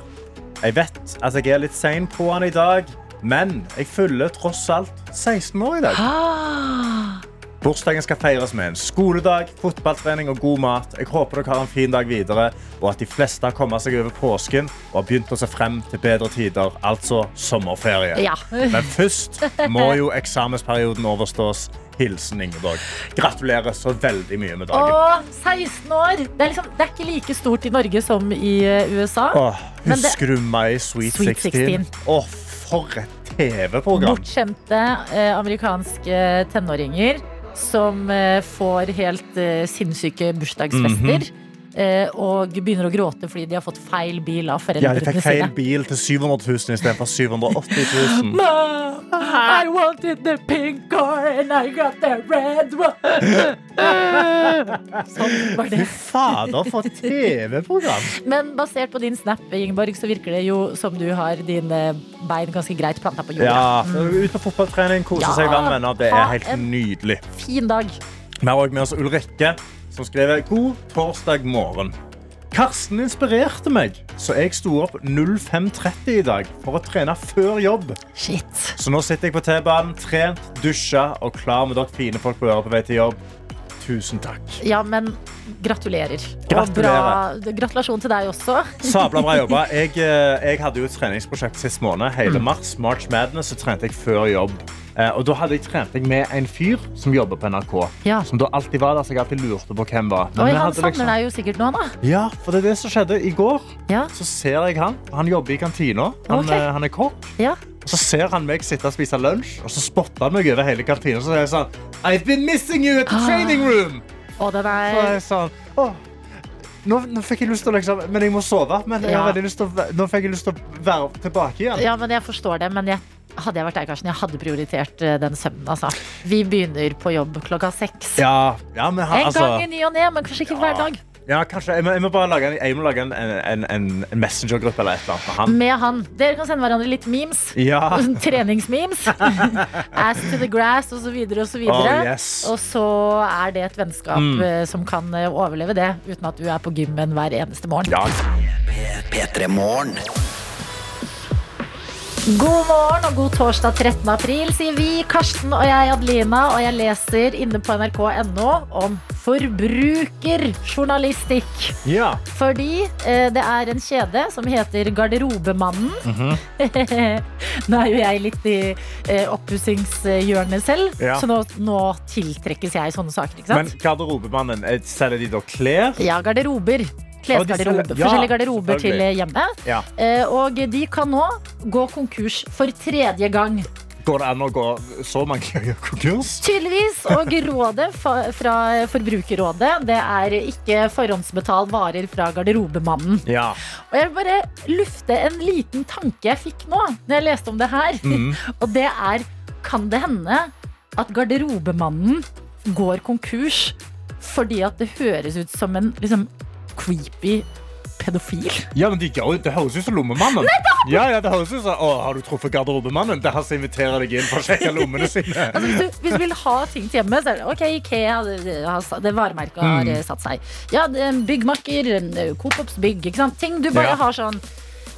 [SPEAKER 3] Jeg vet at jeg er litt sein på han i dag, men jeg fyller tross alt 16 år i dag.
[SPEAKER 2] Ah,
[SPEAKER 3] Bursdagen skal feires med en skoledag, fotballtrening og god mat. Jeg håper dere har en fin dag videre, og at de fleste har kommet seg over påsken og har begynt å se frem til bedre tider, altså sommerferie.
[SPEAKER 2] Ja.
[SPEAKER 3] Men først må jo eksamensperioden overstås. Hilsen Ingeborg. Gratulerer så veldig mye med dagen.
[SPEAKER 2] Og 16 år! Det er, liksom, det er ikke like stort i Norge som i eh, USA.
[SPEAKER 3] Åh,
[SPEAKER 2] Men det-
[SPEAKER 3] husker du meg i Sweet,
[SPEAKER 2] Sweet
[SPEAKER 3] 16?
[SPEAKER 2] 16.
[SPEAKER 3] Åh, for et TV-program!
[SPEAKER 2] Bortskjemte eh, amerikanske eh, tenåringer som eh, får helt eh, sinnssyke bursdagsfester. eh, og begynner å gråte fordi de har fått feil bil av
[SPEAKER 3] Mhm. Ja, de
[SPEAKER 2] foreldrene
[SPEAKER 3] fikk feil
[SPEAKER 2] sine.
[SPEAKER 3] bil til 700 000 istedenfor 780 000.
[SPEAKER 2] Mom, I wanted the pink car and I got the red one. sånn var det.
[SPEAKER 3] Fader, for et TV-program!
[SPEAKER 2] Men basert på din snap, Ingeborg, så virker det jo som du har dine bein ganske greit planta på jorda.
[SPEAKER 3] Ja,
[SPEAKER 2] Mm.
[SPEAKER 3] Ut på fotballtrening, kose
[SPEAKER 2] Ja,
[SPEAKER 3] seg blant venner. Det er
[SPEAKER 2] ha
[SPEAKER 3] helt
[SPEAKER 2] en-
[SPEAKER 3] nydelig.
[SPEAKER 2] Fin dag.
[SPEAKER 3] Vi har også med oss Ulrikke, som skriver God torsdag morgen. Karsten inspirerte meg, så jeg sto opp 05.30 i dag for å trene før jobb. Så nå sitter jeg på T-banen, trent, dusja og klar med dere fine folk på øret på vei til jobb. Tusen takk.
[SPEAKER 2] Ja, men gratulerer. Og
[SPEAKER 3] Gratulerer.
[SPEAKER 2] Bra, gratulasjon til deg også.
[SPEAKER 3] Sabla bra jobba. Jeg, eh, jeg hadde jo et treningsprosjekt sist måned. Hele
[SPEAKER 2] Mm.
[SPEAKER 3] mars, March Madness, så trente jeg før jobb. Eh, Og da hadde jeg trent meg med en fyr som jobber på NRK.
[SPEAKER 2] Ja.
[SPEAKER 3] Som da alltid var der, så jeg alltid lurte på hvem var. Men
[SPEAKER 2] Oi,
[SPEAKER 3] vi
[SPEAKER 2] han
[SPEAKER 3] hadde
[SPEAKER 2] savner
[SPEAKER 3] liksom-
[SPEAKER 2] deg jo sikkert nå, da.
[SPEAKER 3] Ja, for det er det som skjedde i går.
[SPEAKER 2] Ja.
[SPEAKER 3] Så ser jeg han. Han jobber i kantina. Han,
[SPEAKER 2] Ok.
[SPEAKER 3] eh, han er kokk.
[SPEAKER 2] Ja.
[SPEAKER 3] Og så ser han meg sitte og spise lunsj, og så spotter han meg over hele kantina. Og så sier han sånn I've been missing you at
[SPEAKER 2] Ah.
[SPEAKER 3] the training room!
[SPEAKER 2] Og den
[SPEAKER 3] Så er jeg sånn «Åh, nå, nå fikk jeg lyst til å liksom Men jeg må sove. Men jeg har
[SPEAKER 2] Ja.
[SPEAKER 3] veldig lyst til å, væ- nå fikk jeg lyst til å være tilbake igjen.
[SPEAKER 2] Ja, men jeg forstår det, men jeg, hadde jeg vært deg, Karsten, jeg hadde prioritert eh, den søvnen, altså. Vi begynner på jobb klokka seks.
[SPEAKER 3] Ja, ja, men han,
[SPEAKER 2] En
[SPEAKER 3] altså
[SPEAKER 2] gang i ny og ne, men kanskje ikke hver dag.
[SPEAKER 3] ja, kanskje, jeg, må, jeg må bare lage en, jeg må lage en, en, en, en messengergruppe eller et eller annet med han.
[SPEAKER 2] Med han. Dere kan sende hverandre litt memes. Sånn
[SPEAKER 3] Ja.
[SPEAKER 2] Treningsmemes. Ass to the grass osv. Og, så
[SPEAKER 3] Oh,
[SPEAKER 2] videre.
[SPEAKER 3] yes.
[SPEAKER 2] og så er det et vennskap
[SPEAKER 13] Mm.
[SPEAKER 2] eh, som kan eh, overleve det, uten at du er på gymmen hver eneste morgen.
[SPEAKER 13] P3 Morgen.
[SPEAKER 2] God morgen og god torsdag 13. april, sier vi, Karsten og jeg, Adelina. Og jeg leser inne på nrk.no om forbrukerjournalistikk.
[SPEAKER 3] Ja.
[SPEAKER 2] Fordi eh, det er en kjede som heter Garderobemannen.
[SPEAKER 3] Mhm.
[SPEAKER 2] nå er jo jeg litt i eh, oppussingshjørnet selv,
[SPEAKER 3] Ja.
[SPEAKER 2] så nå, nå tiltrekkes jeg i sånne saker. ikke
[SPEAKER 3] Men
[SPEAKER 2] sant?
[SPEAKER 3] garderobemannen, eh, selger de da klær?
[SPEAKER 2] Ja, garderober.
[SPEAKER 3] Og de
[SPEAKER 2] Klesgarderobe.
[SPEAKER 3] selger- ja,
[SPEAKER 2] forskjellige garderober til eh,
[SPEAKER 3] selvfølgelig.
[SPEAKER 2] hjemmet.
[SPEAKER 3] Ja.
[SPEAKER 2] Eh, og de kan nå gå konkurs for tredje gang.
[SPEAKER 3] Går det an å gå så mange ganger konkurs?
[SPEAKER 2] Tydeligvis. Og rådet fa- fra Forbrukerrådet det er ikke forhåndsbetalt varer fra garderobemannen.
[SPEAKER 3] Ja.
[SPEAKER 2] Og jeg vil bare lufte en liten tanke jeg fikk nå når jeg leste om det her.
[SPEAKER 3] Mhm.
[SPEAKER 2] Og det er kan det hende at garderobemannen går konkurs fordi at det høres ut som en liksom, creepy pedofil?
[SPEAKER 3] Ja, men de gjør, jo- Det høres ut som lommemannen.
[SPEAKER 2] Nei, da!
[SPEAKER 3] Ja, ja, det høres ut som, å, Har du truffet garderobemannen? Det er han som inviterer deg inn for å sjekke lommene sine.
[SPEAKER 2] Altså, hvis, du, hvis du vil ha ting til hjemme, så er det OK, Ikea, det, det, har sa- det varemerket har
[SPEAKER 3] Mm.
[SPEAKER 2] eh, satt seg. Ja, det er en byggmakker, en, eh, Coop Ops bygg, ikke sant. Ting du bare
[SPEAKER 3] Ja.
[SPEAKER 2] har sånn.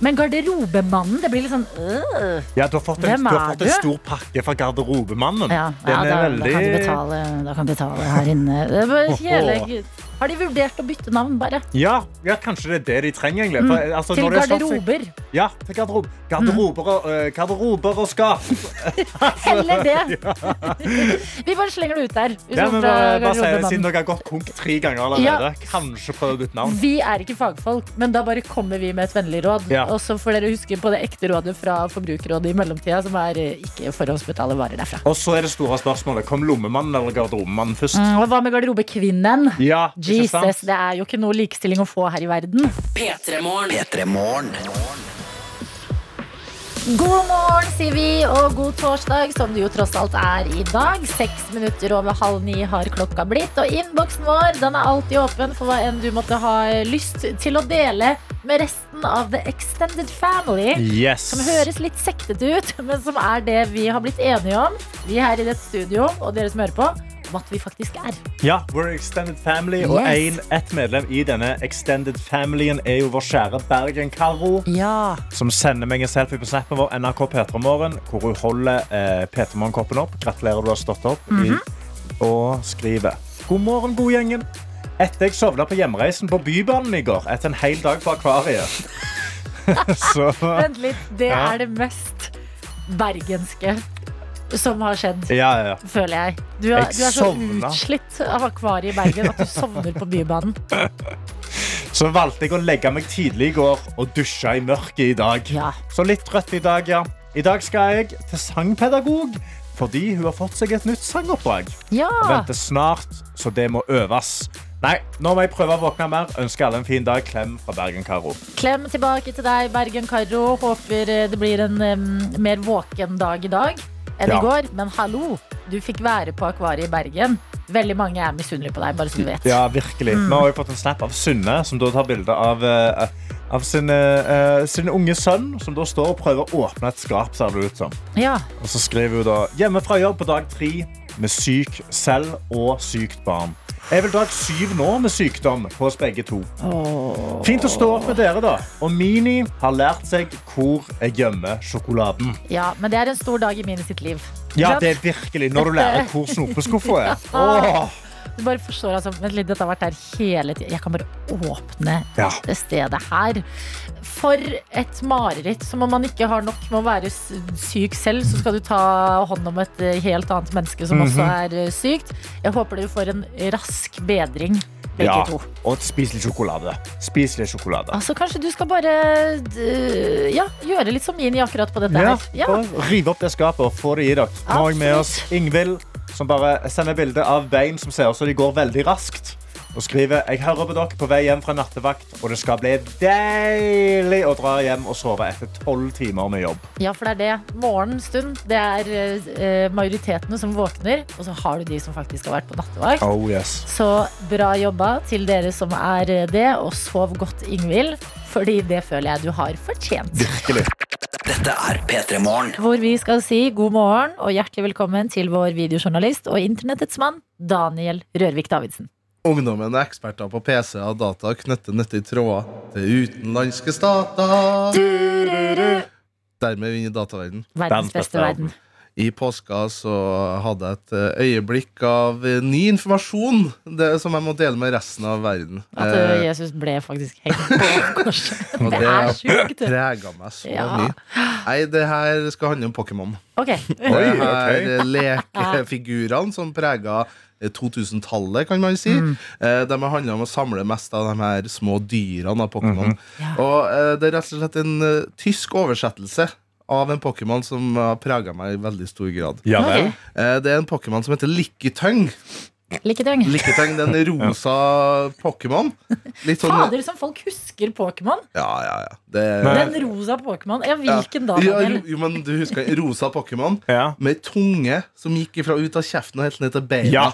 [SPEAKER 2] Men garderobemannen, det blir litt sånn øh.
[SPEAKER 3] Ja, du har fått en,
[SPEAKER 2] Hvem
[SPEAKER 3] du har
[SPEAKER 2] er
[SPEAKER 3] fått en
[SPEAKER 2] du?
[SPEAKER 3] stor pakke fra garderobemannen.
[SPEAKER 2] Ja, ja da,
[SPEAKER 3] Den er
[SPEAKER 2] da kan du
[SPEAKER 3] veldig
[SPEAKER 2] betale, da kan du betale her inne. Det er bare
[SPEAKER 3] Åhå.
[SPEAKER 2] kjedelig. Har de vurdert å bytte navn, bare?
[SPEAKER 3] ja, ja, kanskje det er det de trenger. egentlig.
[SPEAKER 2] Mm,
[SPEAKER 3] For, altså,
[SPEAKER 2] til
[SPEAKER 3] når det er sånn-
[SPEAKER 2] garderober.
[SPEAKER 3] Ja, til garderob. garderober, og, eh, garderober og skap.
[SPEAKER 2] Heller det.
[SPEAKER 3] Ja.
[SPEAKER 2] Vi bare slenger det ut der. Hvis
[SPEAKER 3] Ja,
[SPEAKER 2] noen
[SPEAKER 3] men
[SPEAKER 2] fra
[SPEAKER 3] bare, bare sier det,
[SPEAKER 2] garderobemannen.
[SPEAKER 3] Siden dere har gått konk tre ganger
[SPEAKER 2] Ja.
[SPEAKER 3] allerede, kanskje prøv ditt navn.
[SPEAKER 2] Vi er ikke fagfolk, men da bare kommer vi med et vennlig råd.
[SPEAKER 3] Ja.
[SPEAKER 2] Og så får dere huske på det ekte rådet fra Forbrukerrådet i mellomtida, som er eh, ikke forhåndsbetale varer derfra.
[SPEAKER 3] Og så er det store spørsmålet kom lommemannen eller garderobemannen først.
[SPEAKER 2] Mm, og hva med garderobekvinnen?
[SPEAKER 3] Ja, ikke sant?
[SPEAKER 2] Jesus, det er jo ikke noe likestilling å få her i verden.
[SPEAKER 1] P3 Morgen.
[SPEAKER 13] P3 Morgen.
[SPEAKER 2] God morgen, sier vi, og god torsdag, som det jo tross alt er i dag. Seks minutter over halv ni har klokka blitt, og innboksen vår den er alltid åpen for hva enn du måtte ha lyst til å dele med resten av The Extended Family.
[SPEAKER 3] Yes.
[SPEAKER 2] Som høres litt sektete ut, men som er det vi har blitt enige om, vi her i dette studio, og dere som hører på, om at vi faktisk er.
[SPEAKER 3] Ja, we're extended family, og
[SPEAKER 2] Yes.
[SPEAKER 3] en, ett medlem i denne extended familien er jo vår kjære Bergen-Karo.
[SPEAKER 2] Ja.
[SPEAKER 3] Som sender meg en selfie på snappen vår, NRK P3morgen, hvor hun holder eh, P3morgen-koppen opp. Gratulerer, du har stått opp.
[SPEAKER 2] Mhm.
[SPEAKER 3] i, og skriver God morgen, god gjengen. Etter jeg sovna på hjemreisen på Bybanen i går, etter en hel dag på akvariet. Så
[SPEAKER 2] Vent litt, det
[SPEAKER 3] Ja.
[SPEAKER 2] er det mest bergenske som har skjedd.
[SPEAKER 3] Ja, ja, ja.
[SPEAKER 2] Føler jeg. Du er,
[SPEAKER 3] Jeg
[SPEAKER 2] du er så
[SPEAKER 3] sovna.
[SPEAKER 2] utslitt av akvariet i Bergen at du sovner på Bybanen.
[SPEAKER 3] Så valgte jeg å legge meg tidlig i går og dusje i mørket i dag. Så litt trøtt i dag, ja. I dag skal jeg til sangpedagog fordi hun har fått seg et nytt sangoppdrag.
[SPEAKER 2] Ja.
[SPEAKER 3] Og venter snart, så det må øves. Nei, nå må jeg prøve å våkne mer. Ønsker alle en fin dag. Klem fra Bergen-Karo.
[SPEAKER 2] Klem tilbake til deg, Bergen Karo. Håper eh, det blir en em, mer våken dag i dag enn
[SPEAKER 3] Ja.
[SPEAKER 2] i går. Men hallo, du fikk være på akvariet i Bergen. Veldig mange er misunnelige på deg, bare så du vet.
[SPEAKER 3] Ja, virkelig. Vi har jo fått en snap av Sunne, som da tar bilde av, eh, av sin, eh, eh, sin unge sønn, som da står og prøver å åpne et skap, ser det ut som.
[SPEAKER 2] Ja.
[SPEAKER 3] Og så skriver hun da Hjemme fra jobb på dag tre med syk selv og sykt barn. Jeg vil dag syv nå med sykdom på oss begge to. Fint å stå opp med dere, da. Og Mini har lært seg hvor jeg gjemmer sjokoladen.
[SPEAKER 2] Ja, men det er en stor dag i Mini sitt liv.
[SPEAKER 3] Ja, det er virkelig når du lærer hvor snopeskuffa er. Åh.
[SPEAKER 2] Du bare forstår altså, Vent litt, dette har vært der hele tiden Jeg kan bare åpne
[SPEAKER 3] Ja.
[SPEAKER 2] det stedet her For et mareritt Som om man ikke har nok med å være s- syk selv Så skal du ta hånd om et eh, helt annet menneske Som også
[SPEAKER 3] Mhm.
[SPEAKER 2] er eh, sykt Jeg håper du får en rask bedring begge
[SPEAKER 3] Ja,
[SPEAKER 2] to.
[SPEAKER 3] Og spis litt sjokolade. Spis litt sjokolade.
[SPEAKER 2] Altså, kanskje du skal bare d- ja, gjøre litt som Mini akkurat på dette
[SPEAKER 3] Ja,
[SPEAKER 2] her. Ja.
[SPEAKER 3] bare riv opp det skapet og få det i dere. Nå har jeg med oss Ingvild, som bare sender bilde av bein som ser ut som de går veldig raskt. Og skriver jeg hører på dere på vei hjem fra nattevakt, og det skal bli deilig å dra hjem og sove etter tolv timer med jobb.
[SPEAKER 2] ja, for det er det. Morgenstund. Det er eh, majoritetene som våkner, og så har du de som faktisk har vært på nattevakt.
[SPEAKER 3] Oh yes.
[SPEAKER 2] Så bra jobba til dere som er det, og sov godt, Ingvild. Fordi det føler jeg du har fortjent.
[SPEAKER 3] Virkelig.
[SPEAKER 13] Dette er P3 Morgen.
[SPEAKER 2] Hvor vi skal si god morgen og hjertelig velkommen til vår videojournalist og internettets mann Daniel Rørvik Davidsen.
[SPEAKER 14] Ungdommen er eksperter på PC og data og knytter nyttige tråder til utenlandske stater. Dermed vinner dataverdenen.
[SPEAKER 2] Verdens beste verden.
[SPEAKER 14] I påska så hadde jeg et eh, øyeblikk av eh, ny informasjon det, som jeg må dele med resten av verden.
[SPEAKER 2] At ø,
[SPEAKER 14] Eh,
[SPEAKER 2] Jesus ble faktisk hengt på korset.
[SPEAKER 14] og
[SPEAKER 2] Det er sjukt.
[SPEAKER 14] Det prega meg så
[SPEAKER 2] Ja.
[SPEAKER 14] mye. Nei, det her skal handle om Pokémon.
[SPEAKER 2] Ok.
[SPEAKER 14] Det her eh, lekefigurene som eh, prega 2000-tallet, kan man si. Eh, De har handla om å samle mest av de her små dyrene av Pokémon.
[SPEAKER 12] Mhm.
[SPEAKER 14] Og eh, det er rett og slett en eh, tysk oversettelse av en Pokémon som har prega meg i veldig stor grad.
[SPEAKER 12] Ja vel. Ok.
[SPEAKER 14] Eh, Det er en Pokémon som heter Lykketøng.
[SPEAKER 2] Lykketøng.
[SPEAKER 14] Lykketøng, Det er en rosa Pokémon. Litt sånn
[SPEAKER 2] Fader, som folk husker Pokémon!
[SPEAKER 14] Ja, ja, ja. Det-
[SPEAKER 2] Den rosa Pokémon. Ja, hvilken da,
[SPEAKER 14] Eh. ja, jo,
[SPEAKER 2] Daniel?
[SPEAKER 14] jo, men du husker en rosa Pokémon med tunge som gikk ifra ut av kjeften og helt ned til beina.
[SPEAKER 3] Ja.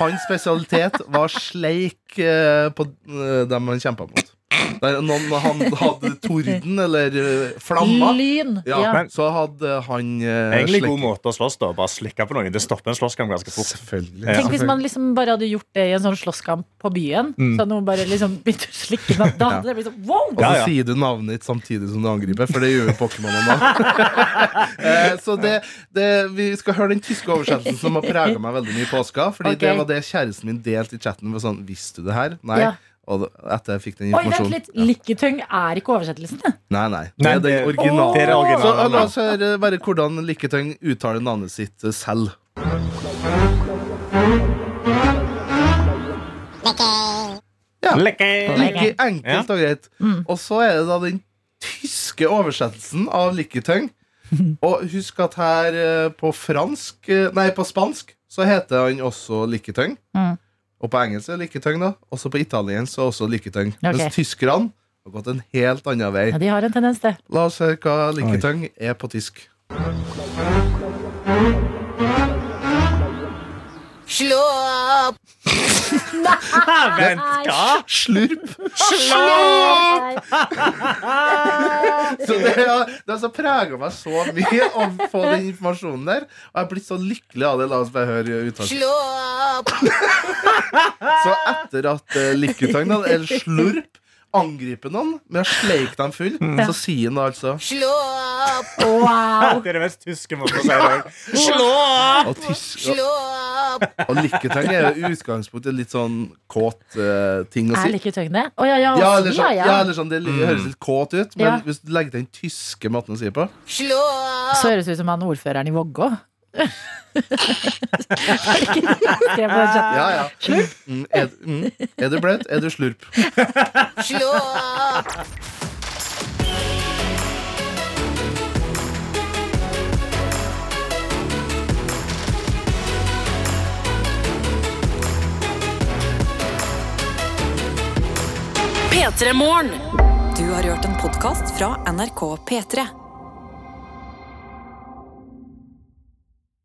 [SPEAKER 14] Hans spesialitet var sleik eh, på eh, dem han kjempa mot. Der noen han hadde torden eller eh, flamma.
[SPEAKER 2] Lyn,
[SPEAKER 14] Ja,
[SPEAKER 3] ja. Men-
[SPEAKER 14] Så hadde han eh,
[SPEAKER 3] Egentlig
[SPEAKER 14] slikk-
[SPEAKER 3] god måte å slåss da. Bare slikke på noen. Det stopper en slåsskamp ganske fort.
[SPEAKER 14] Selvfølgelig.
[SPEAKER 2] Tenk hvis man liksom bare hadde gjort det i en sånn slåsskamp på byen.
[SPEAKER 14] Mm.
[SPEAKER 2] Så hadde noen bare liksom begynte å slikke meg. Da hadde det blitt sånn wow!
[SPEAKER 14] Og så sier du navnet ditt samtidig som du angriper, for det gjør jo Pokémonene nå. eh, så det, det, vi skal høre den tyske oversettelsen som har prega meg veldig mye i påska. Fordi
[SPEAKER 2] Ok.
[SPEAKER 14] det var det kjæresten min delte i chatten. Var sånn, Visste du det her? Nei.
[SPEAKER 2] Ja.
[SPEAKER 14] Og da- etter jeg fikk den
[SPEAKER 2] Oi, vent
[SPEAKER 14] informasjonen
[SPEAKER 2] litt. Lykketøng er ikke oversettelsen. det.
[SPEAKER 14] Nei, nei. Det
[SPEAKER 3] Nei,
[SPEAKER 14] er den
[SPEAKER 3] det-
[SPEAKER 14] originale.
[SPEAKER 3] eh, det er det originale,
[SPEAKER 14] Så eh,
[SPEAKER 3] ja.
[SPEAKER 14] la oss høre bare hvordan Lykketøng uttaler navnet sitt eh, selv. Ja. Lykke, enkelt og greit. Og så er det da den tyske oversettelsen av lykketøng. Og husk at her eh, på fransk eh, Nei, på spansk så heter han også lykketøng.
[SPEAKER 2] Mm.
[SPEAKER 14] Og på engelsk er det lykketøng, da. Også på italiensk er også lykketøng.
[SPEAKER 2] Ok.
[SPEAKER 14] Mens tyskerne har gått en helt annen vei.
[SPEAKER 2] Ja, de har en tendens, det.
[SPEAKER 14] La oss høre hva lykketøng er på tysk.
[SPEAKER 1] Slå opp!
[SPEAKER 14] Slurp! Så det, ja, det har så prega meg så mye å få den informasjonen der. Og jeg har blitt så lykkelig av det. La oss bare høre uttalen.
[SPEAKER 1] opp!
[SPEAKER 14] Så etter at uh, lykketang, da, eller slurp, angriper noen med å sleike dem full, så sier han da altså
[SPEAKER 1] Slå opp!
[SPEAKER 2] Wow!
[SPEAKER 3] Det er det mest tyske måten å si det på.
[SPEAKER 1] Slå opp!
[SPEAKER 14] Og tysk-
[SPEAKER 1] Slå opp!
[SPEAKER 14] Og lykketang er jo i utgangspunktet litt sånn kåt eh, ting å
[SPEAKER 2] Er
[SPEAKER 14] si.
[SPEAKER 2] lykketøng det? Å ja, ja.
[SPEAKER 14] Ja,
[SPEAKER 2] å
[SPEAKER 14] eller
[SPEAKER 2] si,
[SPEAKER 14] sånn,
[SPEAKER 2] ja,
[SPEAKER 14] ja,
[SPEAKER 2] ja.
[SPEAKER 14] eller sånn det li- høres litt kåt ut, men
[SPEAKER 2] Ja.
[SPEAKER 14] hvis du legger til den tyske måten å si det på
[SPEAKER 1] Slå opp!
[SPEAKER 2] Så høres det ut som han ordføreren i Vågå. Var det ikke det du skrev på den chatten?
[SPEAKER 14] Ja, ja. Mm, er, mm, er du blaut? Er du slurp?
[SPEAKER 1] Slå opp!
[SPEAKER 15] P3 Morgen. Du har hørt en podkast fra NRK P3.